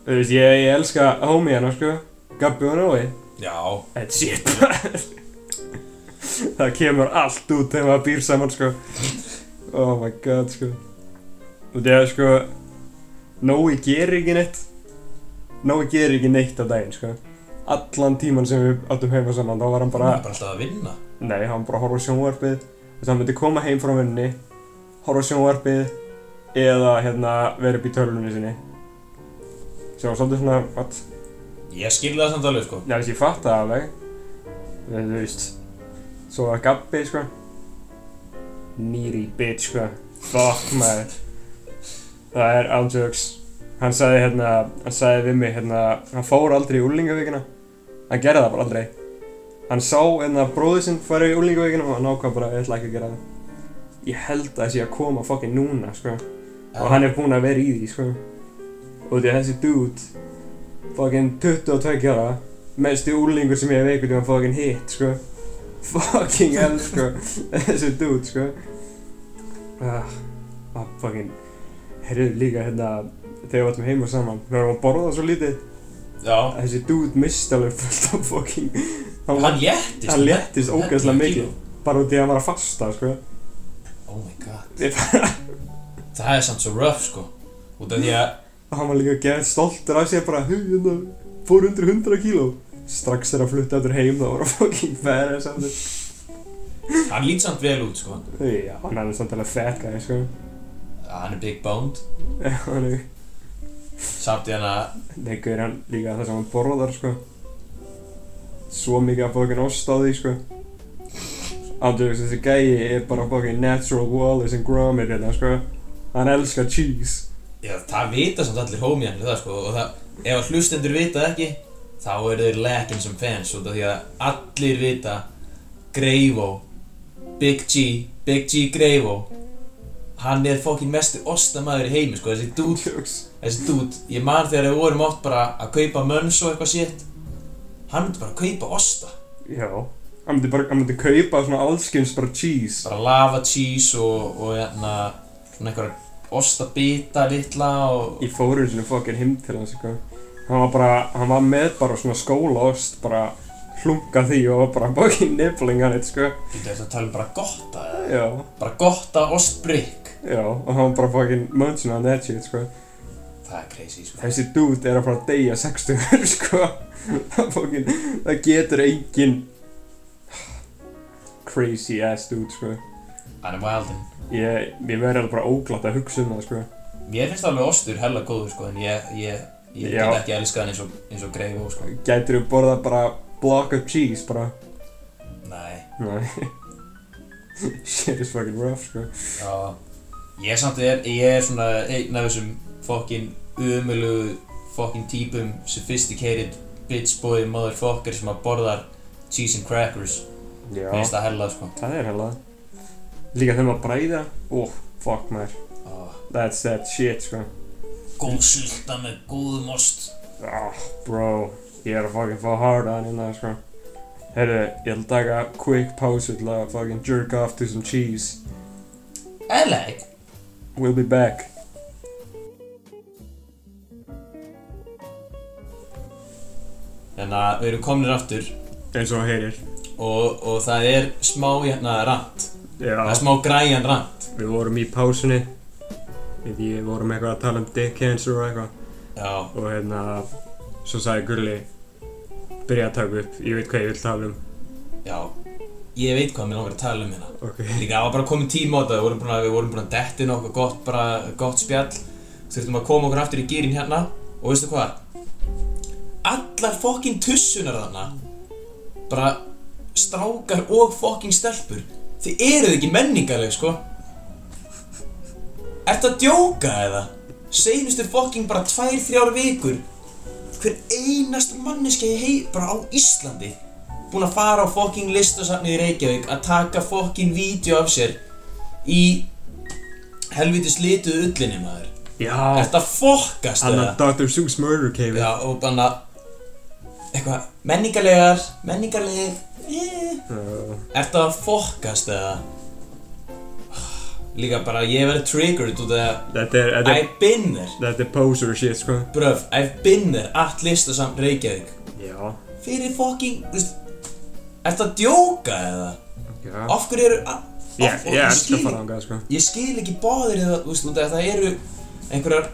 Þú veist, ég, ég elska homie hana sko. Gabbi og Nói. sko Já, En shit maður. *laughs* Það kemur allt út þegar maður býr saman sko. Oh my god sko. Og það er sko, Nói gerir ekki neitt. Nói gerir ekki neitt á daginn sko. Allan tíman sem við áttum heima saman, þá var hann bara bara, er bara alltaf að vinna nei, hann var bara að horfa á sjónvarpið. Þú veist, hann myndi koma heim frá vunni, horfa á sjónvarpið eða hérna vera upp í tölunni sinni. Svo svolítið svona, what? Ég skilði það samt alveg sko Já, veist, ég fatt það alveg En þú veist Svo var Gabbi, sko Nýri bitch, sko Fuck, maður Það er ándjöks Hann sagði hérna, hann sagði við mig hérna Hann fór aldrei í úlingavíkina Hann gerði það bara aldrei Hann sá hérna bróði sinn fara í úlingavíkina Og hann ákvað bara, ég ætla ekki að gera það Ég held að þessi að koma fucking núna, sko og hann er búinn að vera í því sko og því að þessi dude fucking 22 ára mesti úlingur sem ég hef einhvern veginn fucking hitt sko fucking hell sko þessi dude sko ah, ah fucking heyrðu líka hérna þegar við vartum heima saman við varum að borða svo lítið Já, að þessi dude misti alveg fullt af fucking hann, hann léttist hann léttist Hann ógeðslega léttist mikið bara út í að hann var að fasta sko Oh my god Ég *laughs* Það er samt svo rough sko Út af því að og hann var líka gett stoltur af sér bara "Hey, hérna, fór undir 100 kíló strax þegar hann flutti aftur heim þá var hann fucking færi samt hann lít samt vel út sko já, hann er samt alveg fat guy sko Hann er big boned Já, hann er Samt í hann að leikur hann líka það sem hann borðar sko svo mikið að fucking ost á því sko andjóðis þessi gæi er bara fucking natural Wallace and Gromit hérna sko Hann elskar cheese Já, það vita samt allir homiðanir það sko og það, ef að hlustendur vita það ekki þá eru þeir lekin sem fans út af því að allir vita Greifo Big G, Big G Greifo hann er fokkin mesti ostamæður í heimi sko, þessi dút Jokes þessi dút, ég man þegar við vorum oft bara að kaupa mönns og eitthvað sétt hann myndi bara kaupa osta Já Hann myndi bara, hann myndi kaupa svona allskyns bara cheese bara lava cheese og, og hérna, svona einhverja ostabita litla og Ég fór einu sinni fokkin heim til hans eitthvað Hann var bara, hann var með bara svona skólaost bara hlunga því og var bara *laughs* fokkin nibbling hann eitt sko Bíddu, ertu að tala um bara gotta eða? Já, bara gotta ostbrygg já og hann var bara fokkin munching on that shit sko það er crazy sko Þessi dude er að fara að deyja 60 *laughs* sko Það fokkin, það getur engin Crazy ass dude sko hann er wildin Ég, ég verði alveg bara óglatt að hugsa um það, sko. mér finnst alveg ostur hella góður sko en ég, ég, ég Já. get ekki elskað hann eins og, eins og greif og sko Gætir þú borðað bara block of cheese, bara? nei Nei. *laughs* Shit is fucking rough, sko. já ég samt er ég er svona einn af þessum fokkin umölu fokkin típum sophisticated bitch boy motherfucker sem að borðar cheese and crackers Já. mér finnst það hella sko Það er hella. Líka þegar maður bræða, oh, fuck maður. Ó, That's that shit, sko. góð sulta með góðum ost Ah, bro. Ég er að fucking fá hard on hérna, sko. Herru, ég ætla að taka quick pause til að fucking jerk off to some cheese. eða ekki We'll be back. en að Hérna, við erum komnir aftur Eins og heyrir. og, og það er smá hérna rant það Já. er smá græjan rant Við vorum í pásunni. Við vorum eitthvað að tala um dick cancer og eitthvað. já, og hérna svo sagði Gulli byrja að taka upp, ég veit hvað ég vil tala um já ég veit hvað mér langar að tala um hérna ok, líka það var bara komið tíma á þetta við vorum búin að, við vorum búin að detti nokkuð gott bara gott spjall þurftum að koma okkur aftur í gýrin hérna og veistu hvað allar fokkin tussunar þarna bara strákar og fokkin stelpur þið eruð ekki menningarleg sko ertu að djóka eða seinustu fokkin bara tvær þrjár vikur hver einast manneski hei bara á Íslandi búin að fara á fokkin listasafnið í Reykjavík að taka fokkin vídeo af sér í helvitis lituðu ullinni maður já Þetta fokkast hann eða að Dr. Seuss murder cave Já og bara eitthvað menningarlegar menningarleg yeah. uh, Ertu að fokkast eða Líka bara ég verið triggered út af þetta er þetta er, I've been there þetta er poser shit sko Bröf, I've been there allt listasafn Reykjavík já, fyrir fokkin Ertu að djóka eða já Af hverju eru af- ég, og ég ég elska skil- að fara ánga sko ég skil ekki báðir það, þú veist, út af að það eru einhverjar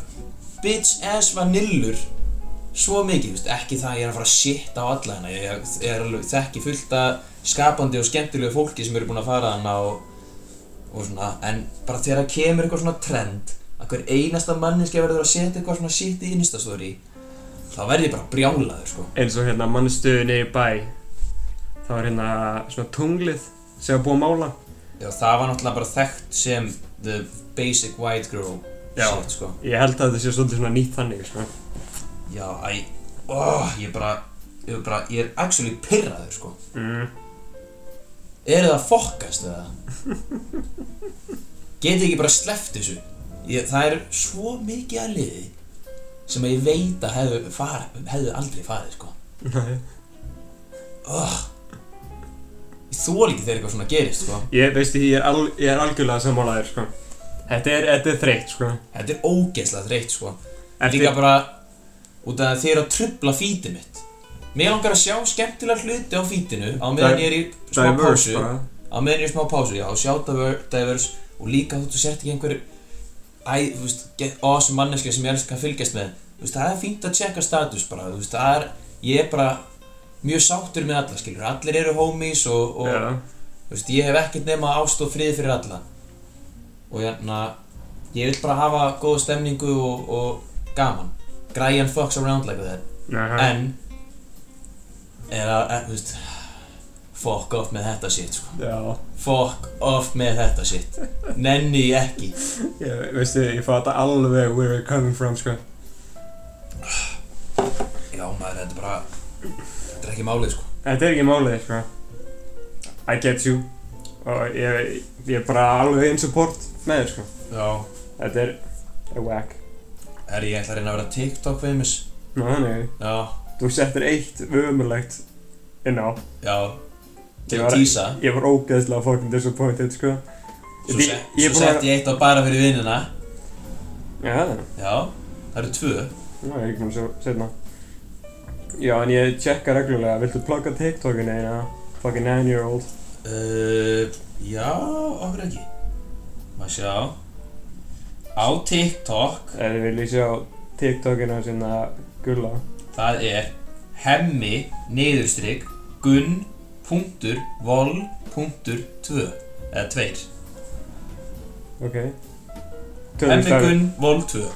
bitch ass vanillur svo mikið, þú veist, ekki það að ég er að fara að shit á alla hana, ég ég er alveg þekki fullt af skapandi og skemmtilegu fólki sem eru búin að fara hana og, og svona, en bara þegar það kemur eitthvað svona trend, að hver einasta manninski verður að setja eitthvað svona shit í instastóri þá verð ég bara brjálaður, sko eins og hérna mannstuðu niður í bæ þá er hérna svona tunglið sem er búið að mála Já, það var náttúrulega bara þekkt sem the basic white girl Já. shit, sko ég held að þetta sé svolítið svona nýtt þannig sko Já, æ, ó, ég bara, ég bara, ég er actually pirraður, sko. mm. Eru það fokkast eða? Geti ekki bara sleppt þessu? Ég, það er svo mikið að liði sem að ég veit að hefðu, far, hefðu aldrei farið, sko. Nei. Oh, ég þól ekki þegar eitthvað svona gerist, sko. *laughs* ég veistu ég er, al, ég er algjörlega sammálaðir sko þetta er, þetta er þreytt sko Þetta er ógeðslega þreytt, sko. Ertu- Líka bara, út af að þið eru að trubla fítið mitt. Mér langar að sjá skemmtilega hluti á fítinu á meðan Di- ég er í smá diverse pásu. bara á meðan ég er í smá pásu, já, sjá diver- diverse og líka þú sért ekki einhver æ, þú veist, get awesome manneskja sem ég elska að fylgjast með þú veist, það er fínt að checka status bara, þú veist, það er ég er bara mjög sáttur með alla, skilur, allir eru homies og, og Já, þú veist, ég hef ekkert nema ást og frið fyrir alla og hérna ég vil bara hafa góða stemningu og, og gaman, græjan fucks around like that Aha. en er að, að, þú veist eh, Fuck off með þetta shit sko. Já, Fuck off með þetta shit Nenni ég ekki ég, veistu, ég fatta alveg where we're coming from, sko. Já maður þetta er bara Þetta er ekki málið sko Þetta er ekki málið, sko. I get you. Og ég, ég er bara alveg in support með þér, sko. Já Þetta er, er whack. Herri ég ætla að reyna að vera TikTok famous Ná, þannig, Já þú settir eitt vömmulegt inn á. Já Til Ég að var- tísa Ég var ógeðslega fucking disappointed, sko. Svo, Ég- se, ég svo er búin að- sett ég eitt á bara fyrir vinnina Já, Já Það eru tvö Ná, ég er ekki maður að setna. Já, en ég tjekka reglulega, viltu plugga TikTokin eina? Fucking nine year old. Uh, já, okkur ekki Má sjá Á TikTok Ef þið viljið sjá TikTokina sinna gulla. Það er hemmi niðurstrygg gunn punktur vol punktur tvö eða tveir Ok. hemmi gunn vol tvö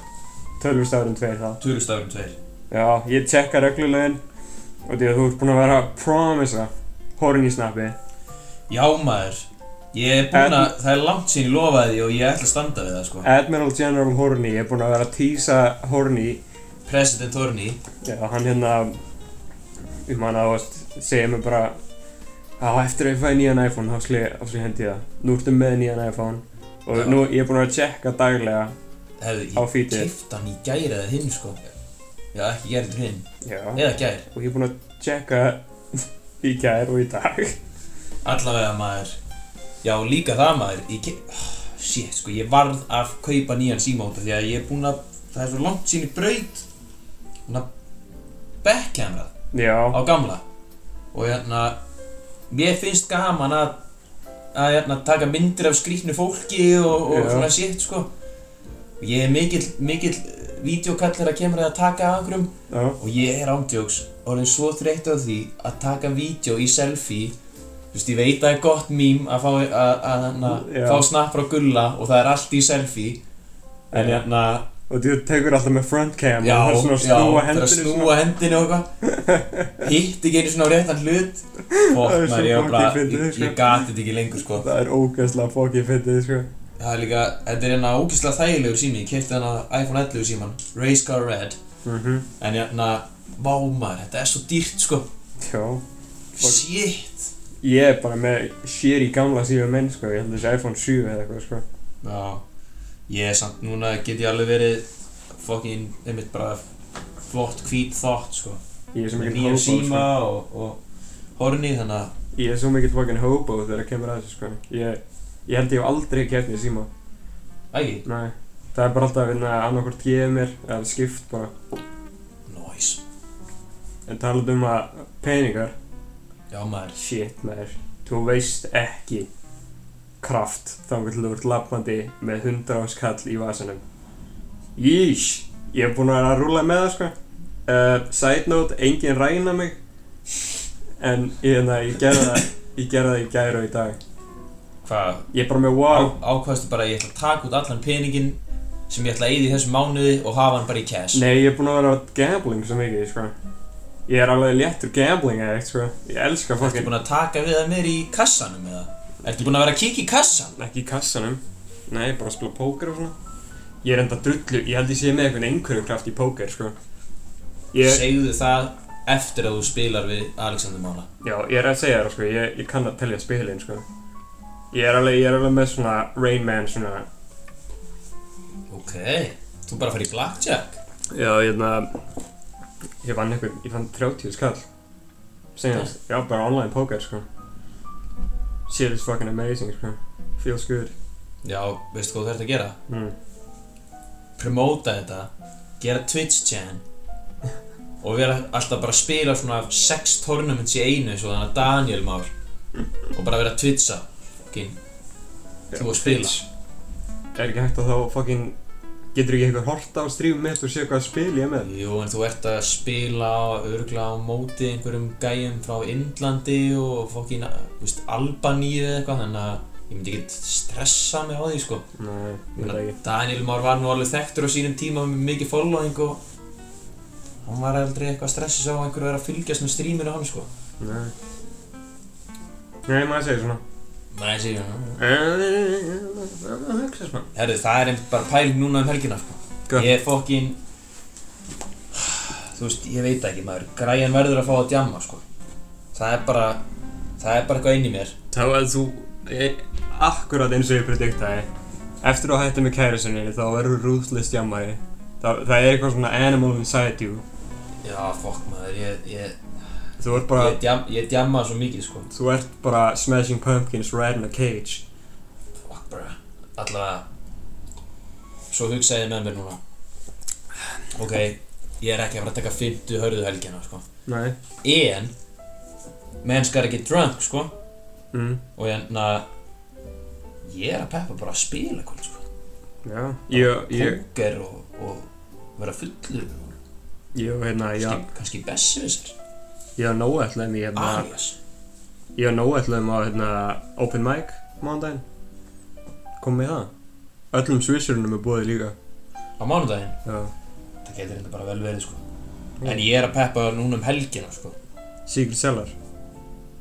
Tölvustafurinn um tveir það. tölustafurinn tveir Já, ég tjekka reglulegin og því að þú ert búinn að vera að promisa horn í snappi. já maður ég er búinn að það er langt sín ég lofaði því og ég ætla að standa við það sko Admiral General Horny er búinn að vera að tísa Horny. President Horny Já, hann hérna, ég man að ást, segja mér bara að eftir að ég fæ nýjan iPhone þá slið þá slið hendi ég það. Nú ertu með nýjan iPhone og Já. nú ég er búinn að tjekka daglega hefði á ég feedið. kifta hann í gæri eða hinn sko já ekki gæri til hinn Já, eða gæri og ég er búinn að tjekka *laughs* í gær og í dag. Allavega maður Já líka það maður ég ke... oh, Shit sko ég varð að kaupa nýjan síma út af Því að ég er búinn að Það er svo langt sín í braut Búinn að Backcamerað Já, á gamla Og hérna Mér finnst gaman að Að hérna taka myndir af skrýtnu fólki Og, og Já. svona shit sko Ég er mikill Mikill Vídeokallir að kemur að taka af einhverjum já, og ég er ándjóks orðin svo þreytt á því að taka vídeo í selfie þú veist, ég veit að það er gott mím að fá, að, að, að, Já. fá snapp frá gulla og það er allt í selfie en Já. hérna, og þú tekur alltaf með front cam já, og það er svona að já, það snúa er að hendinni svona. snúa hendinni og eitthvað *laughs* hitt ekki einu svona á réttan hlut Það er fokk maður, svo ég var fucking bara, fyndið, ég, sko. ég gati þetta ekki lengur sko Það er ógeðslega fokkið fyndið, sko. það er líka, þetta er hérna ógeðslega þægilegur sími ég kefti hérna iPhone 11 síman, Race Car Red Mm -hmm. en hérna, vá maður, þetta er svo dýrt sko Já. shit Ég er bara með sér í gamla síðu menn, sko. Ég held þessi iPhone 7 eða eitthvað, sko. Já, ég er samt núna get ég alveg verið fucking, einmitt bara flott hvít þátt, sko. Ég er svo Með mikill nýjan hobo, síma sko. og, og horni, þannig að, Ég er svo mikill fucking hobo þegar það kemur að þessu, sko. Ég, ég held ég hef aldrei kæft mér síma. ægji, Nei. Það er bara alltaf að vinna annarkvort gefið mér eða skipt bara. nice. En talað um að peningar, Já, maður, shit maður, þú veist ekki kraft þangar til þú ert lappandi með 100 áskall í vasanum Jísh, ég hef búin að vera að rúla með það sko uh, Side note, enginn ræna mig En ég, na, ég gerði það Ég gerði það í gæri og í dag hvað, Ég er bara með á, wow ákvæðstu bara að ég ætla að taka út allan peningin sem ég ætla að eyða í þessum mánuði og hafa hann bara í cash. Nei, ég er búin að vera að gambling svo mikið sko Ég er alveg léttur gambling eða sko Ég elska Ertu fólkin búinn að taka við það mér í kassanum eða? Ertu búinn að vera að kíkja í kassan? Ekki í kassanum Nei, bara að spila póker og svona Ég er enda drullu, ég held ég sé með einhvern einhverjum kraft í póker, sko ég, Segðu það eftir að þú spilar við Alexander Mála. Já, ég er að segja þér, sko, ég, ég kann að telja spilin, sko Ég er alveg, ég er alveg með svona Rain Man, svona Ok, þú bara farið í blackjack. Já, ég er hérna, Ég vann einhvern, ég vann 30 skall Senast, já, bara online póker, sko Shit is fucking amazing, sko Feels good Já, veistu hvað þú ert að gera? mm. promóta þetta gera Twitch channel og vera alltaf bara að spila svona sex tournaments í einu svo þannig að Daniel Már og bara vera að twitcha okay. þú að spila Er ekki hægt að þá fucking Getur ekki eitthvað horta á stream mitt og sé hvað spil ég er með Jú, en þú ert að spila örgla á móti einhverjum gæjum frá Indlandi og fokkin veist, Albaníu eða eitthvað þannig að ég myndi ekki stressa mig á því sko Nei, ég Ég veit það meina, ekki Daniel Már var nú alveg þekktur á sínum tíma með mikið following og hann var aldrei eitthvað að stressa sig á að einhverju að vera að fylgjast með streaminu hann sko Nei Nei, maður segir svona Eh, Maður segir hérna Það hugsa svona Herru, það er einmitt bara pæling núna um helgina sko. Hvað? Ég er fokkin Þú veist, ég veit ekki maður Græjan verður að fá að djamma sko. Það er bara Það er bara eitthvað inn í mér Þá að þú ég, Akkurat eins og ég prediktaði Eftir að hætta með kærisunni þá verður ruthless jammari það, það er eitthvað svona animal inside you Já, fokk maður Ég, ég, Þú ert bara ég, djam, ég djamma svo mikið sko. Þú ert bara smashing pumpkins right in a cage Fokk bara Allavega Svo hugsaði ég með mér núna Ok, ég er ekki að fara að taka 50 hörðu helgina sko. Nei En Menn skal ekki drunk sko. mm. Og hérna Ég er að peppa bara að spila kvöld sko. Já Ég, ég, póker og, og vera fullur og ég, og hérna, kannski, já kannski besserwisser, Ég á nóg ætlaðum í hérna Arias Ég á nóg ætlaðum á hérna open mic mánudaginn Kom með það Öllum svissurunum er búið líka á mánudaginn, Já það getur þetta bara vel verið sko. Mm. en ég er að peppa núna um helgina sko. Secret Cellar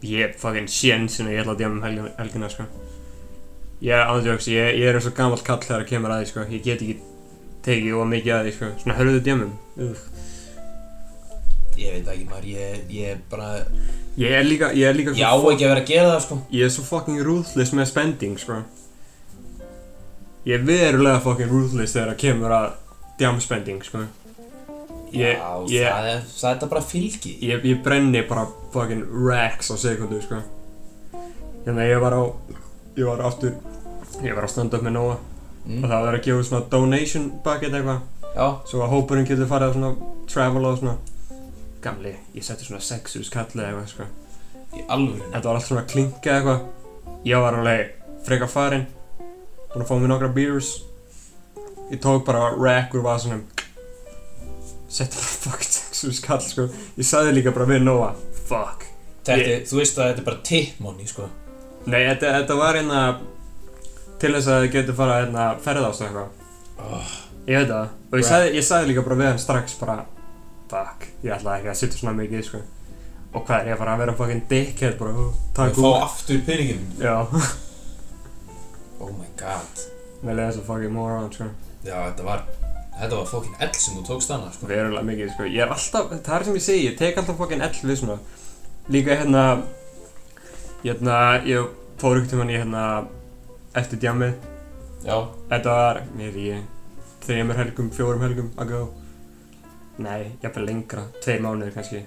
Ég er fucking sjensin og ég ætla að djama um helgina, helgina sko Ég er ándjóks, ég, ég er eins og gamall kall þegar að kemur að því sko Ég get ekki tekið of mikið að því sko Svona hörðu djamum Ugh. ég veit það ekki maður, ég, ég er bara Ég er líka, ég er líka ég á ekki að vera að gera það sko. Ég er svo fucking ruthless með spending sko Ég er verulega fucking ruthless þegar að kemur að djam spending sko Ég- já, ég- það er það er þetta bara fylgi ég, ég brenni bara fucking racks á sekundu sko hérna ég var á ég var aftur ég var á stand-up með Nóa og mm. það var að gefa út svona donation bucket eitthvað já, svo að hópurinn getur farið að svona travel og svona gamli ég setti svona sexus kallið eitthvað sko í alvöru þetta var allt svona klinka eitthvað ég var alveg frekar farinn búinn að fá mér nokkra beers ég tók bara rack úr vasunum setti bara fucking sexus kall sko ég sagði líka bara við Nóa fuck þetta, ég- þú veist að þetta er bara tippmóni sko. Nei, þetta, þetta var hérna til þess að þið getur fara hérna ferðast og eitthvað. oh, Ég veit það. Og ég Bruh. sagði, ég sagði líka bara við hann strax bara Fuck, ég ætla ekki að sitja svona mikið, sko. Og hvað er ég að fara að vera fucking dickhead bara og ég taka fá út? aftur peningin Já, *laughs* oh my god, með leiðast að fucking moron, sko. já, þetta var þetta var fokkin ell sem þú tókst annað sko. Verulega mikið, sko. Ég er alltaf, það er sem ég segi, ég tek alltaf fucking ell við svona. Líka hérna, hérna, ég fór ykkur tímann í hérna eftir djamið já, Þetta var, mér ég, þreymur helgum, fjórum helgum að go. Nei, jafnvel lengra, tveir mánuðir kannski.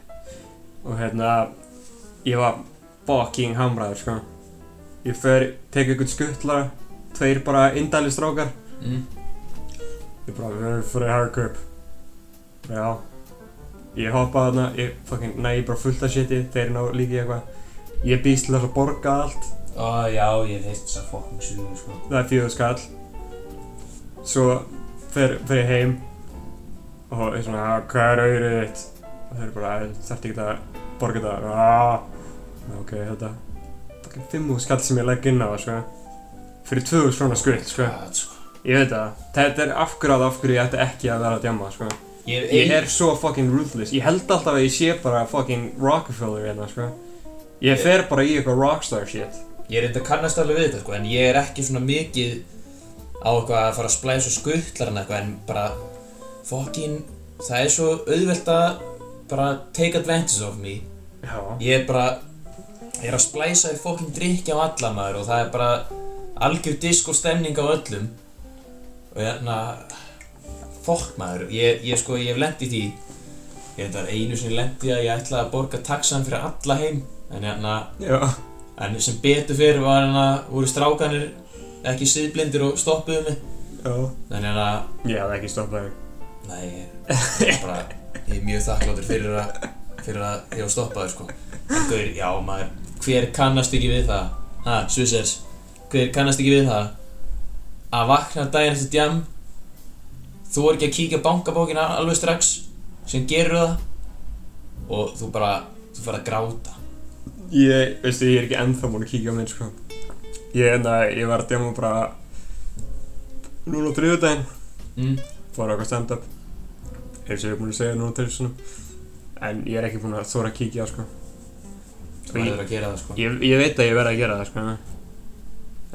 Og hérna, ég var fucking hamraður, sko. Ég fer, tek einhvern skuttlar, tveir bara indæli strákar. mm. Ég bara, við erum fyrir hard grip. Já. Ég hoppa þarna, ég fucking, næ, ég bara fullt af shiti, þeir ná líka í eitthvað. Ég býst til þess að borga allt. Ó, já, ég hef heilt þess að fokkin suðu, sko. það er fjögur skall svo fer, fer ég heim og ég svona "Ah, hvað er auðrið þitt og þeir eru bara þarf ekki að borga þetta "Ah." Já, ok þetta fucking fimmu skall sem ég legg inn á sko. fyrir 2000 svona skull sko. God, sko. ég veit það þetta er afgráð af hverju ég ætti ekki að vera að djamma sko. Ég, ég er svo fucking ruthless ég held alltaf að ég sé bara fucking Rockefeller hérna sko. ég Ég- fer bara í eitthvað rockstar shit Ég er enda kannast alveg við þetta, sko, en ég er ekki svona mikið á eitthvað að fara að splæsa skuttlar en eitthvað, en bara fokkin, það er svo auðvelt að bara take advantage of me. já Ég er bara, ég er að splæsa í fokkin drikki á alla maður og það er bara algjör disk og stemning á öllum. Og hérna, fokk maður, ég, ég sko, ég hef lent í því, ég þetta er einu sinni lent í að ég ætlaði að borga taxan fyrir alla heim, en hérna, já En sem betur fyrir var hann að voru strákanir ekki siðblindir og stoppuðu mig hérna, já Þannig að, ég hafði ekki stoppað þig nei, ég er bara, ég er mjög þakkláttur fyrir að, fyrir að ég var stoppaður sko En gaur, já maður, hver kannast ekki við það, ha, Svissers, hver kannast ekki við það Að vakna daginn eftir djam, þú er ekki að kíkja á bankabókina alveg strax, sem gerur það Og þú bara, þú fer að gráta Ég, veistu, ég er ekki ennþá búinn að kíkja á minn, sko. Ég, en ég var að djama bara núna á þriðudaginn, mm. fór á eitthvað stand-up, eins og ég er búinn að segja núna á þriðsunum, en ég er ekki búinn að þóra að kíkja á, sko. Þú verður að gera það sko Ég, ég veit að ég verð að gera það, sko.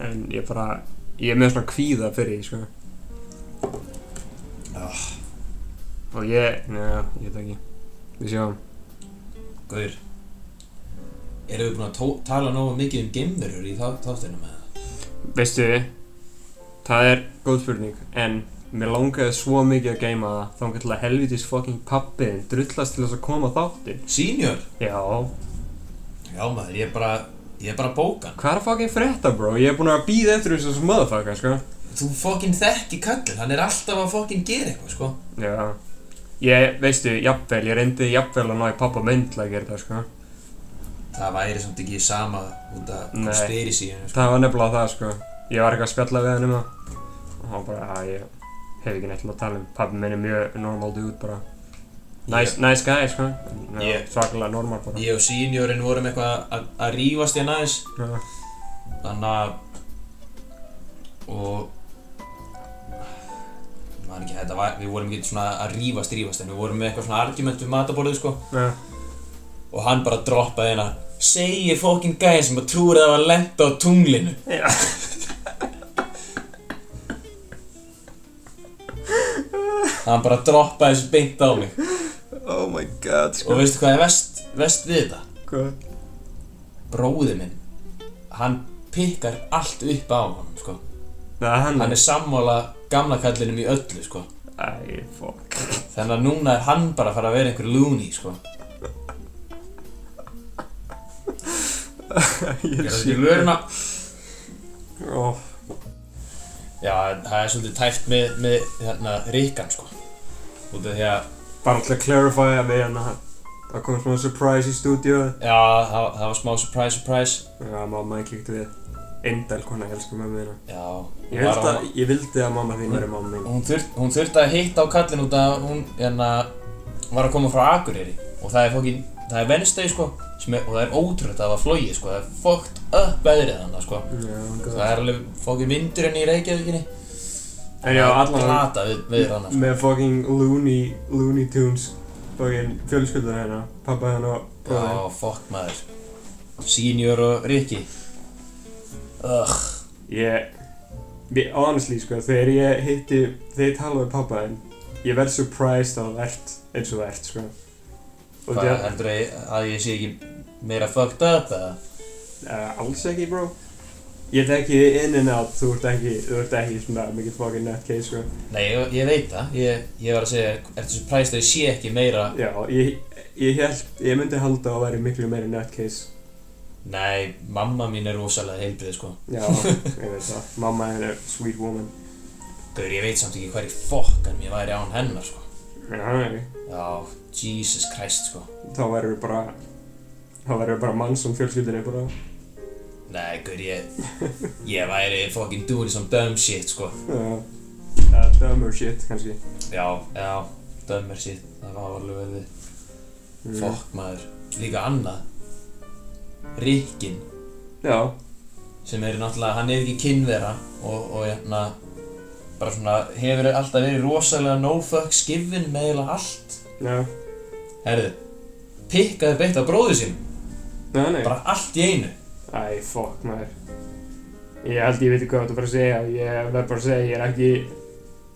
En ég bara, ég er með svona kvíða fyrir, því, sko. Ah. Og ég, neða, ég veit ekki. Við sjáum. Gaur Erum við búin að tó- tala nógu mikið um geimverur í þá- þáttunum eða? Veistu, það er góð spurning, en mér langaði svo mikið að geima það þá til að helvitis fucking pappiðin drullast til þess að koma á þáttinn. Senior? Já, Já maður, ég er bara, ég er bara bókan hvað er að fucking frétta, bro? Ég er búinn að býða eftir þessu sem motherfucker, sko. Þú fokkin þekki kallin, hann er alltaf að fokkin gera eitthvað sko Já, ég, veistu, jafnvel, ég reyndi jafnvel að ná í pappa minn til að gera það, sko. Það væri samt ekki sama út af Nei. conspiracy sko. Það var nefnilega það, sko. Ég var eitthvað að spjalla við hann um það. Og hann bara, að ég hef ekki neitt til að tala um. Pappi minn er mjög normal dude, bara. Nice, nice guy, sko. Já, Ég- Svakalega normal, bara. Ég og seniorin vorum eitthvað að- að rífast í aðeins Já, Þannig að og maður ekki, þetta var, við vorum ekki svona að rífast, rífast en við vorum með eitthvað svona argument við mataborðið sko já, og hann bara droppaði hérna segir fokkin gæðin sem að trúir að það var lent á tunglinu já. hann bara droppaði þessu beint á mig Oh my god, og veistu hvað er vest, vest við þetta? Hvað? bróði minn hann pikkar allt upp á hann sko. Nei, hann... hann er sammála gamla kallinum í öllu sko. Æ, fuck. þannig að núna er hann bara að fara að vera einhver lúni sko. ég er þetta í vöruna Ó, Já, en það er svolítið tæft með, með hérna, Ríkan, sko. Út af því að, bara til að clarify að við hann að það kom smá surprise í stúdíu. já, það, það var smá surprise, surprise. Já, mamma ég kíkti við. Indel, hvernig elsku mömmu þína. Já, Ég var vildi, á- að, ég vildi að mamma þín væri mamma mín. hún, þurft, hún þurfti að hitta á kallin út af hún, hérna, var að koma frá Akureyri. Og það er fokkin, það er venstegi, sko, sem er, og það er ótrúlegt að það var flogið, sko. Það er fokkt upp veðrið hann, sko. Já, Það gott. er alveg fokkin vindur henni í Reykjavíkinni. En já, allan að... Glata við, við hann, sko. Með fucking Looney, Looney Tunes. Fucking fjölskylduna hérna. Pappa henn og bróði. Já, fokk maður. Senior og Ríki. Ugh, Ég... Við, honestly, sko, þegar ég hitti... Þegar ég tala við pappa henn. Ég verð surprised að það ert eins og það ert, sko. Og hvað það... heldur að, að ég sé ekki meira fucked up eða? Uh, alls ekki, bro. Ég tek ég in and out, þú ert ekki, þú ert ekki svona mikið fucking nutcase, sko. Nei, ég, ég veit það. Ég, ég var að segja, ertu surprised að ég sé ekki meira... Já, ég, ég held, ég myndi halda að væri miklu meiri nutcase. Nei, mamma mín er rosalega heilbrið, sko. Já, ég veit það. Mamma henn er sweet woman. Gaur, ég veit samt ekki hverju fokkan ég væri án hennar, sko. En hann er Já, Jesus Christ, sko. Þá verður við bara, þá verður við bara mann sem fjölskyldinni bara. Nei, gaur, ég... Ég væri fokkin doing some dumb shit, sko. Uh, uh, dumb or shit, kannski. Já, já, dumb er shit. Það var alveg verið við. Mm. Fokk, maður. Líka annað. Rikkin. Já, sem er náttúrulega, hann er ekki kynvera og, og hérna bara svona, hefur alltaf verið rosalega no fucks given með eiginlega allt já. herðu, pikkaði beitt á bróðu sín Nei, nei. bara allt í einu Æ, fokk maður Ég held ég veit ekki hvað þú ert að fara að segja Ég verð bara að segja, ég er ekki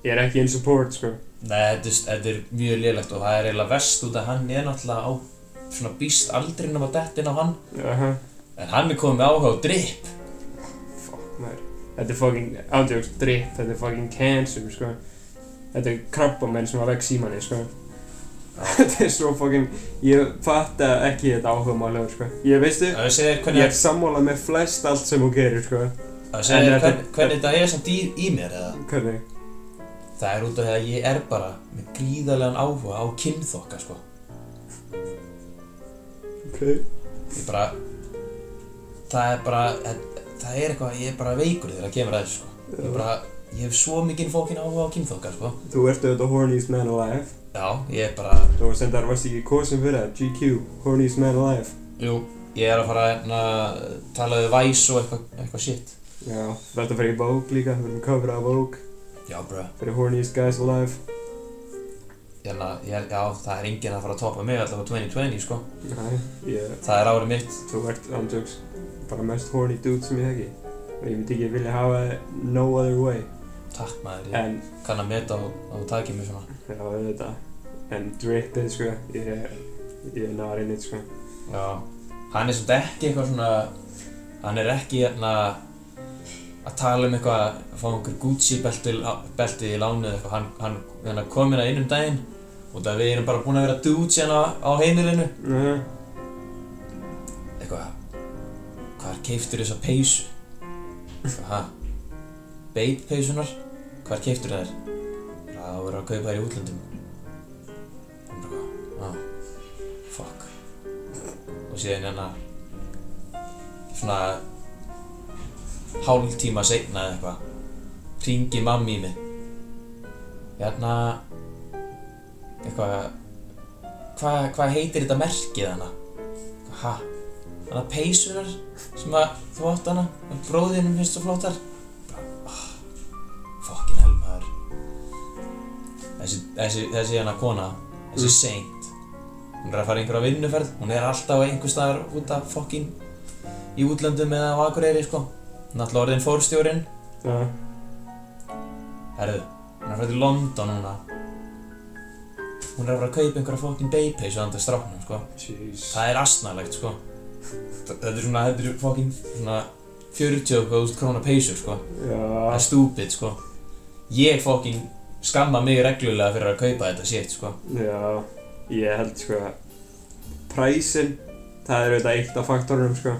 Ég er ekki in support, sko Nei, þetta, er- þetta er mjög lélegt og það er eiginlega vest út að hann er náttúrulega á svona býst aldrinum að dettin á hann uh -huh. en hann er komið með áhuga á drip Fokk maður Þetta er fucking, ándjóks, drip Þetta er fucking cancer, sko Þetta er krabbamenn sem að vekk símanni, sko *laughs* Þetta er svo fucking Ég fatta ekki þetta áhuga málega, sko Ég veistu, að við segir ég er hvernig, sammála með flest allt sem hún gerir, sko að við segir en þetta- hvern, hvernig þetta er samt í, í mér eða Hvernig? það er út af því að ég er bara með gríðarlegan áhuga á kynþokka sko Ok ég bara það er bara það er eitthvað, ég er bara veikur þegar það kemur að þessu sko. ég bara, ég hef svo mikinn fókin áhuga á kynþokka sko. Þú ert auðvitað horniest man alive já, ég er bara Þú varst endar, varst ekki kosin fyrir það GQ, horniest man alive jú, ég er að fara hérna, að tala við væs og eitthvað eitthva shit Já, þetta fyrir Vogue líka, við erum cover á Vogue já, bro, fyrir Horniest Guys Alive hérna, ég, já, það er enginn að fara að topa mig allavega 2020, sko. Nei, ég, Það er árið mitt. þú ert ándjóks bara mest horny dude sem ég þekki. Og ég myndi ekki vilja hafa þig no other way. Takk maður, ég En, kann að meta og, og taki mig svona. já, auðvitað. En drippið, sko, ég er, ég er not in it, sko. Já. Hann er svolítið ekki eitthvað svona, hann er ekki hérna að tala um eitthvað að fá einhver Gucci belti, belti í lánu eða eitthvað. Hann, hann, hann kom hérna inn um daginn og það við erum bara búin að vera dudes hérna á heimilinu. Mhm. eitthvað hvað er keiftur þessa peysu eitthvað ha beit peysunar hvað er keiftur þær bara það voru að kaupa þær í útlöndum og bara eitthvað ah fuck og síðan hérna svona hálf tíma seinna eða eitthvað ringi mammi í mig hérna eitthvað hvað hva heitir þetta merkið hana ha hana peysunar sem að þú átt hana en bróðinum finnst þú flottar bara, ah, fokkin helmaður þessi, þessi, þessi hana kona þessi Mm. seint hún er að fara í einhverja vinnuferð hún er alltaf einhver staðar út af fokkin í útlöndum eða á Akureyri sko náttúrulega orðin fórstjórinn Já, herðu, hún er að fara til London núna hún er að fara að kaupa einhverja fokkin beipeysu andast stráknum sko jeez. Það er asnalegt sko Þa- Þetta er svona, þetta er fokkin svona 40 og eitthvað þúsund krónar peysur sko Það Já, er stúpid sko Ég fokkin skamma mig reglulega fyrir að kaupa þetta shit sko já, ég held, sko, præsin, það er auðvitað eitt af faktorunum, sko.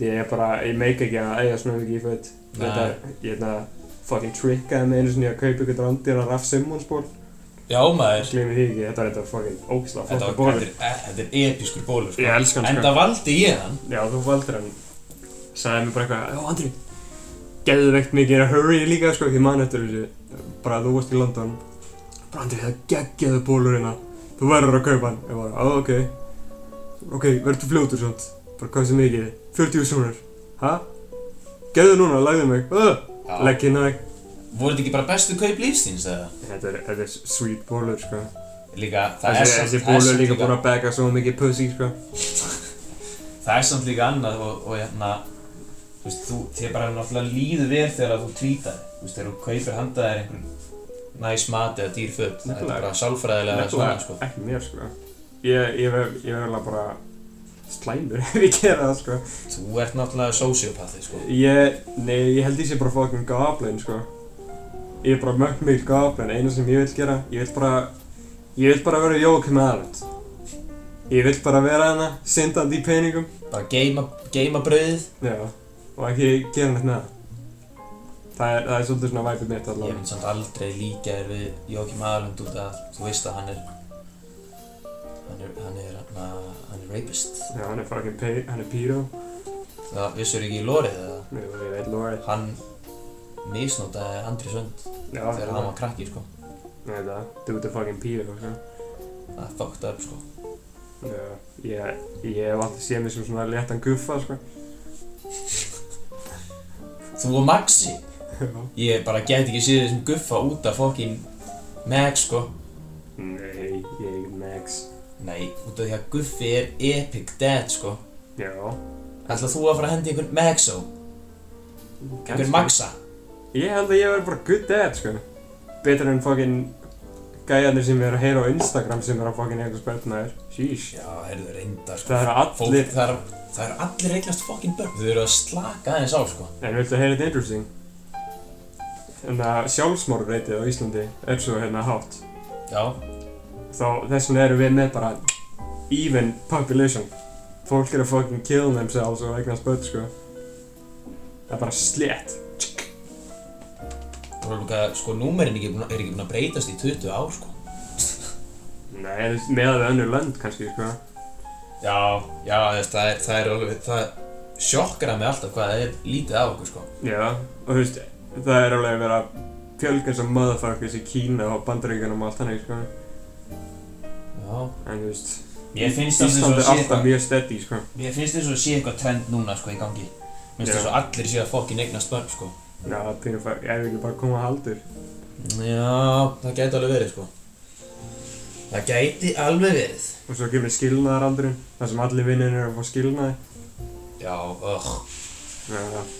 Ég er bara, ég meik ekki að eiga svona mikið í fött. Þetta er, ég hefna, fucking trickaði með einu sinni að kaupa ykkur randýra Raff Simmons ból. Já maður Gleimi því ekki, þetta er þetta fucking ógislega Þetta, flottur var, ból. þetta, er, e- þetta er episkur bólur sko Ég elska hann, Enda sko. valdi ég hann Já, þú valdur hann. Sæði mér bara eitthvað, já, Andri, geðu veikt mikið að hurry líka, sko, ég man eftir þessu. Bara þú varst í London. Bara, Andri, það geggjaðu bólur hérna. Þú verður að kaupa hann. Ég bara, á, ok. Ok, verður þú fljótur svont. Bara, hvað sem mikið? 40 sjónur. Hæ? Geðu núna, lagðu mig. Uh, Já. Legg hérna mig. Voru þetta ekki bara bestu kaup lífstíns eða? Þetta er, þetta er sweet bólur, sko. Líka, það er Þessi, samt- þessi það bólur samt líka búin að bega svo mikið pussy, sko. það er samt líka annað og, og hérna þú veist, þú, þér bara náttúrulega líður vel þegar að þú tvítar þú veist, þegar þú kaupir handað þér einhvern næs mat eða dýr föt það er Nefnilega. bara sálfræðilega svona Nefnilega, sko ekki mér, sko. Ég, ég verð ég verð alveg bara slæmur *laughs* ef ég gera það, sko. þú ert náttúrulega sociopathy sko Ég, nei, ég held ég sé bara fucking goblin, sko. Ég er bara mögg mikil goblin, eina sem ég vil gera, ég vil bara, ég vil bara vera Jókim Arnd. Ég vil bara vera hana, syndandi í peningum, bara geima, geima brauðið já, og ekki gera neitt með það. Það er, það er svolítið svona væpið mitt ég allavega. mynd samt aldrei líka þér við Jókim Aðalund út að þú veist að hann er hann er, hann er, hann er, hann er rapist Já, hann er fucking pay, hann er pyró. það vissur ekki í lórið eða Nei, ég veit lórið. hann misnótaði Andri Sönd Já, þegar hann var krakki sko Nei, það, dude er fucking pyró, sko. það er fucked up sko Já, ég, ég hef alltaf séð mig sem svona léttan guffa, sko. Þú og Maxi Já. Ég bara get ekki séð þessum guffa út af fokkin Meg sko Nei, ég er ekki Max. Nei, út af því að guffi er epic dead sko Já. Ætla þú að fara að hendi einhvern Megso Einhvern Maxa Ég held að ég verði bara good dad, sko. Betur en fucking gæjarnir sem eru að heyra á Instagram sem eru að fucking eitthvað spöldnaður. Sheesh. Já, heyrðu reyndar sko Það eru Fólk, allir... það eru það eru allir eignast fokkin börn Þau eru að slaka aðeins á sko En viltu að heyra þetta interesting? En að sjálfsmorðreitið á Íslandi er svo hérna hátt. Já, Þá þess vegna erum við með bara even population. Fólk er að fucking kill themselves og eignast börn, sko. Það er bara slétt. og líka sko númerin ekki búin, að- er ekki búin að breytast í 20 ár sko Nei, meðan við önnur lönd kannski, sko. Já, já, þess, það er, það er alveg, það sjokkar að mig alltaf hvað það er lítið af okkur sko Já, og þú veist, það er alveg að vera fjölgan sem motherfuckers í Kína og Bandaríkjunum og allt þannig, sko. Já, En þú veist, mér finnst það Ísland er alltaf mjög steady, sko. Mér finnst eins og sé eitthvað trend núna sko í gangi Mér finnst Já. eins og allir sé að fokkin eignast börn sko Já, það er pínu fæ, ég vil ekki bara koma að haldur. Já, það gæti alveg verið sko Það gæti alveg verið. Og svo kemur skilnaðaraldurinn, þar sem allir vinnir eru að fá skilnaði. Já, ögh. Já, það.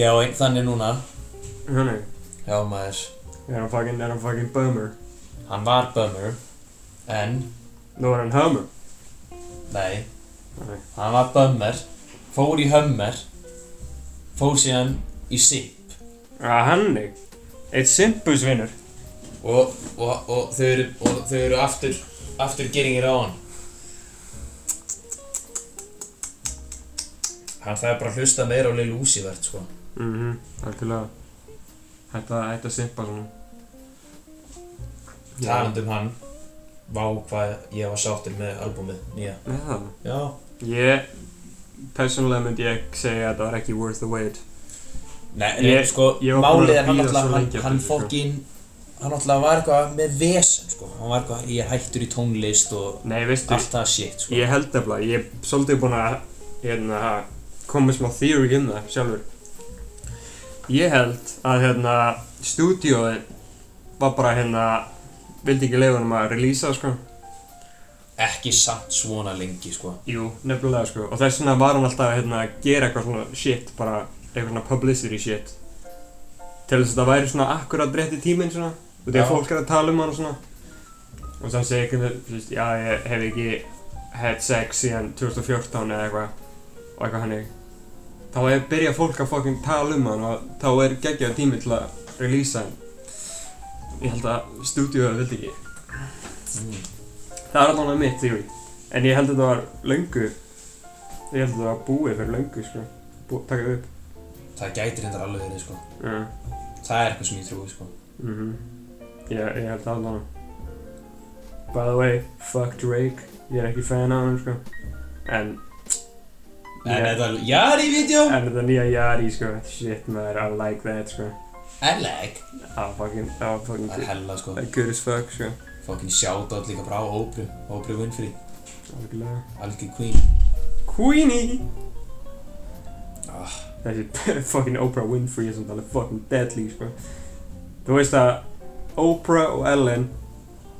Já, ein, þannig núna. Þannig, Já, maður. er hann fucking, er hann fucking bummer. Hann var bummer, en, Nú er hann hummer. nei, Þannig, hann var bummer, fór í hömmer, fór síðan í sip. að hann er eitt simpusvinnur. Og, og, og þau eru, og þau eru aftur, aftur geringir á hann. Hann þarf bara að hlusta meira á Lil Uzi verð, sko. Mhm, mm algjörlega. Þetta, þetta simpa svona. Talandi um hann, vá hvað ég var sáttur með albúmið, nýja. Já, það. Já. Ég, persónulega myndi ég segja að það var ekki worth the wait. Nei, Ég- nei, sko, ég var búinn málið að er hann bíða alltaf, svo hann, lengi eftir hann þessu, sko. fokkin, hann alltaf var eitthvað með vesen, sko, hann var eitthvað, ég er hættur í tónlist og Nei, veistu, allt það shit, sko. ég held nefnilega, ég er svolítið búinn að, hérna, koma með smá theory um það sjálfur. Ég held að, hérna, stúdíóið var bara, hérna, vildi ekki leiða honum að releasa, sko. Ekki samt svona lengi, sko. Jú, nefnilega, sko. Og þess vegna var hann alltaf, hérna, að gera eitthvað svona shit, bara eitthvað svona publicity shit. Til þess að það væri svona akkurat rétt í tíminn, svona. Og því Já. að fólk er að tala um hann og svona. Og þannig segir einhvern veginn, já, ég hef ekki had sex síðan 2014 eða eitthvað. Og eitthvað hannig. Þá er byrja fólk að fucking tala um hann og þá er geggjað tími til að releasa hann. Ég held að stúdíóið vildi ekki. Mm. Það er allavega mitt theory En ég held að þetta var löngu Ég held að þetta var búið fyrir löngu sko Bú, Takka upp Það gæti reyndar alveg verið, sko. uh, Það er eitthvað sem ég trúi, sko. mm ég, ég held að allavega By the way, fuck Drake Ég er ekki fan af hann sko En En Ég- þetta er alveg, jari vídeo, En þetta nýja Yari sko Shit maður, I like that sko I like. Það var fucking Það var fucking Það er good hella, sko. Það er good as fuck sko Fokkin shoutout líka bara á Óbru, Óbru Winfrey, Algjörlega algjör queen. Queenie Ah. Þessi *laughs* fucking Oprah Winfrey er samt alveg fucking deadly sko Þú veist að Oprah og Ellen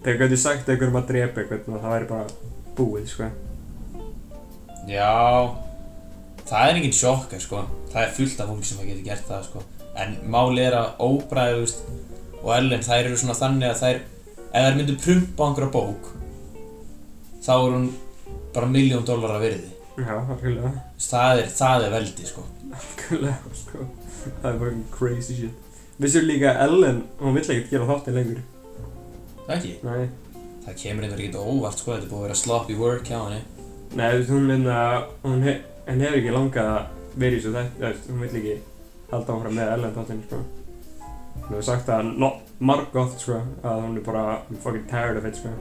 Þeir gætu sagt einhverjum að drepa einhvern og það væri bara búið sko Já, það er enginn sjokka sko, það er fullt af fólki sem að geta gert það sko En málið er að Oprah þú veist, og Ellen, þær eru svona þannig að þær, ef þær myndu prumpa á einhverja bók Þá er hún bara miljón dólar að virði Já, algjörlega Þú veist, það er, það er veldi sko Algjörlega sko Það er fucking crazy shit Vissur líka að Ellen, hún vill ekkert gera þáttið lengur Það ekki? Nei Það kemur einhver ekkert á óvart sko, þetta er búið að vera sloppy work hjá henni Nei, þú veist, hún vinna Hún he, henni hefur ekki langað að vera í svo þetta Þú veist, hún vill ekki halda áfram með Ellen þáttinn sko Hún hefur sagt það no, margótt sko að hún er bara I'm fucking tired of it sko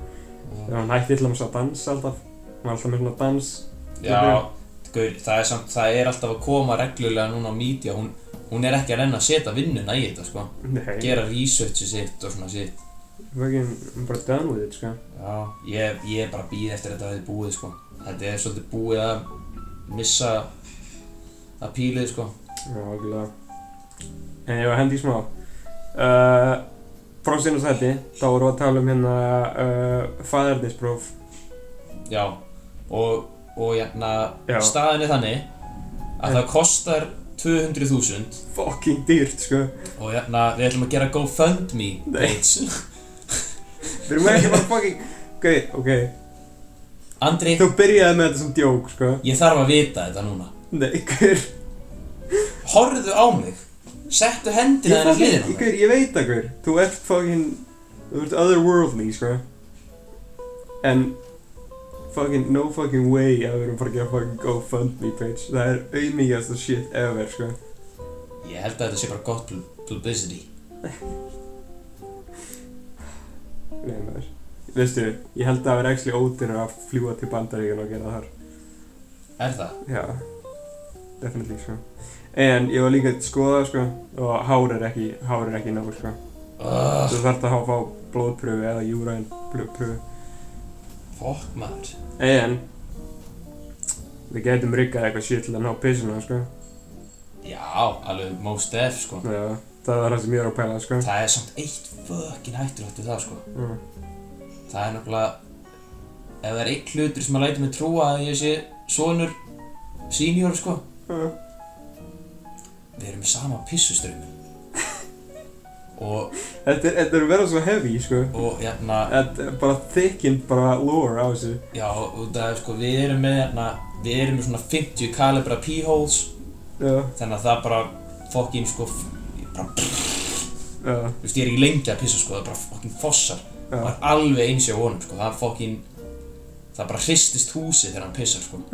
Þegar hún hætti til dæmis að dansa alltaf Hún var alltaf með svona dans Já, gaur, það er samt, það er alltaf að koma reglulega núna á media Hún, hún er ekki að reyna að setja vinnuna í þetta sko Nei Gera researchi sitt og svona sitt Fucking, hún er bara done with it sko Já, ég, ég er bara býð eftir þetta að þetta búið sko Þetta er svolítið búið að missa að pílið sko Já, algjörlega En ég var að hendi í smá uh, Frá sinna sætti Þá vorum við að tala um hérna uh, Fæðarnispróf Já, og, og jæna, Já. staðin er þannig að En- það kostar 200.000 Fucking dýrt sko og jæna, við ætlum að gera GoFundMe page Við erum ekki bara fucking Ok, ok Andri, Þú byrjaði með þetta sem djók sko ég þarf að vita þetta núna Nei, hver Horðu á mig, settu hendina Ég, þennan fucking, hliðin á mig hver, ég veit það hver Þú ert fucking Þú ert otherworldly, sko En Fucking no fucking way að við erum bara að gera fucking GoFundMe page Það er auðmíkjasta shit ever, sko Ég held að þetta sé bara gott pl- publicity Nei, maður Veistu, ég held að það vera actually ódýrar að fljúa til Bandaríkun og gera það þar Er það? Já, definitely, sko En ég var líka að skoða, sko Og hár er ekki, hár er ekki nóg, sko Ugh, Þú þarft að fá- fá blóðpröfu eða júræn pröfu fokk maður En Við getum riggað eitthvað shit til að ná pissuna, sko Já, alveg most def sko Já, það var það sem ég er að pæla, sko Það er samt eitt fucking hættulegt við það sko Mm. Það er nokkulega Ef það er einn hlutur sem að læta mig trúa að ég sé sonur senior sko Mm. Við erum með sama pissuströmmin Og, Þetta er, þetta er verið svo heavy, sko. og hérna Þetta er bara þykinn bara lore á þessu. Já, út af sko við erum með hérna Við erum með svona 50 kalibra p-holes Já, Þannig að það bara fokkin sko f- bara, já, Þú veist, ég er ekki lengi að pissa sko Það bara fokkin fossar já. Það er alveg eins hjá honum sko Það fokkin Það bara hristist húsið þegar hann pissar sko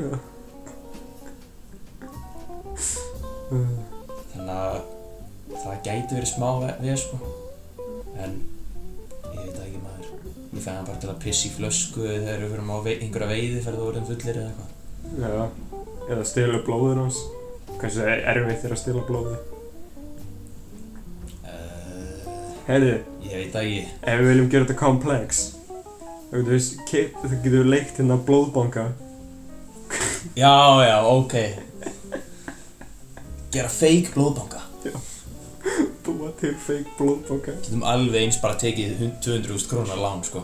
Mm. Þannig að það gæti verið smá ve- við sko En ég veit það ekki maður Ég fæði hann bara til að pissa í flösku eða þegar við fyrir á vei, einhverja veiði fyrir þú orðin fullir eða eitthvað Já. Eða stila blóðin hans. Hversu erfitt er að stila blóði. uh, Herði, Ég veit það ekki ef við viljum gera þetta komplex, þá getum við, kip- þá getum við leikt hérna blóðbanka. Já, já, ok Gera fake blóðbanka Búa til fake blóðbanka. Getum alveg eins bara tekið 200.000 krónar lán sko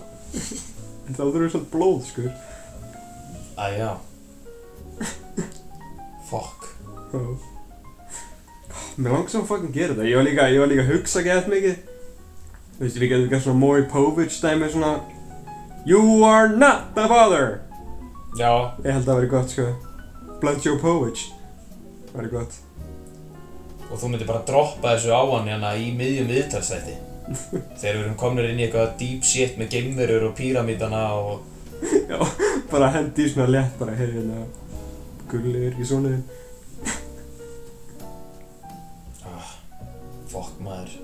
En þá þurfum við svona blóð, sko. Æ, já *laughs* Fuck Já. Mér langt sem að fucking gera þetta. Ég var líka, ég var líka að hugsa ekki eftir mikið. Þú veist, við getum gert svona Mói Povich dæmi svona You are not the father! Já Ég held að það væri gott, sko. Blood Joe Povich. Það væri gott. Og þú myndir bara droppa þessu á hann hérna í miðjum *laughs* viðtalsþætti Þegar við erum komnir inn í eitthvað deep shit með geimverur og píramítana og Bara hendi í svona létt, bara heyrði hérna. Gulli er ekki svona þinn. Fuck maður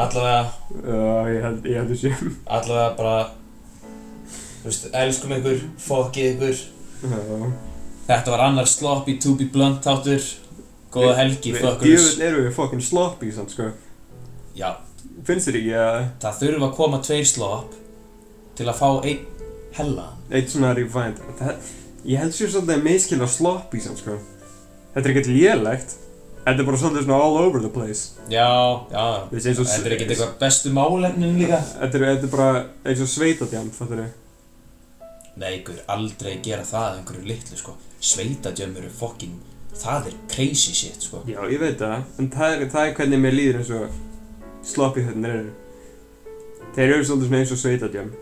Allavega, Já, ég held, ég held þessi. allavega bara Þú veist, elskum ykkur, fokkið ykkur Já. Þetta var annar sloppy to be blunt þáttur Góða helgi, Við- fuckers Djöfull eru við fucking sloppy samt, sko. Já, Finnst þér ekki uh, að það þurfa að koma tveir slopp Til að fá einn hella Eitt svona refined það, Ég held sér svolítið að miskila sloppy sem sko Þetta er ekkert lélegt Þetta er bara svolítið svona all over the place Já, já, Þú veist, eins og- þetta er ekkert eitthvað bestu málefnin líka Þetta er, þetta er bara eins og sveitadjamp Þetta er Nei, ykkur aldrei gera það að einhverju litlu, sko Sveitadjömmur er fokkin, það er crazy shit, sko Já, ég veit það En það er, það er hvernig mér líður eins og Sloppy hötnir eru Þeir eru svolítið svona eins og sveitadjamp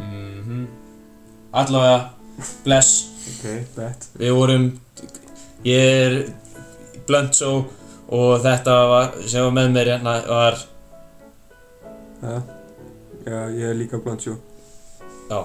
Mhm Allavega, bless Ok, bet Við vorum, ég er Blöntsó Og þetta var, sem var með mér hérna var Já, já ég er líka blant sjó Já,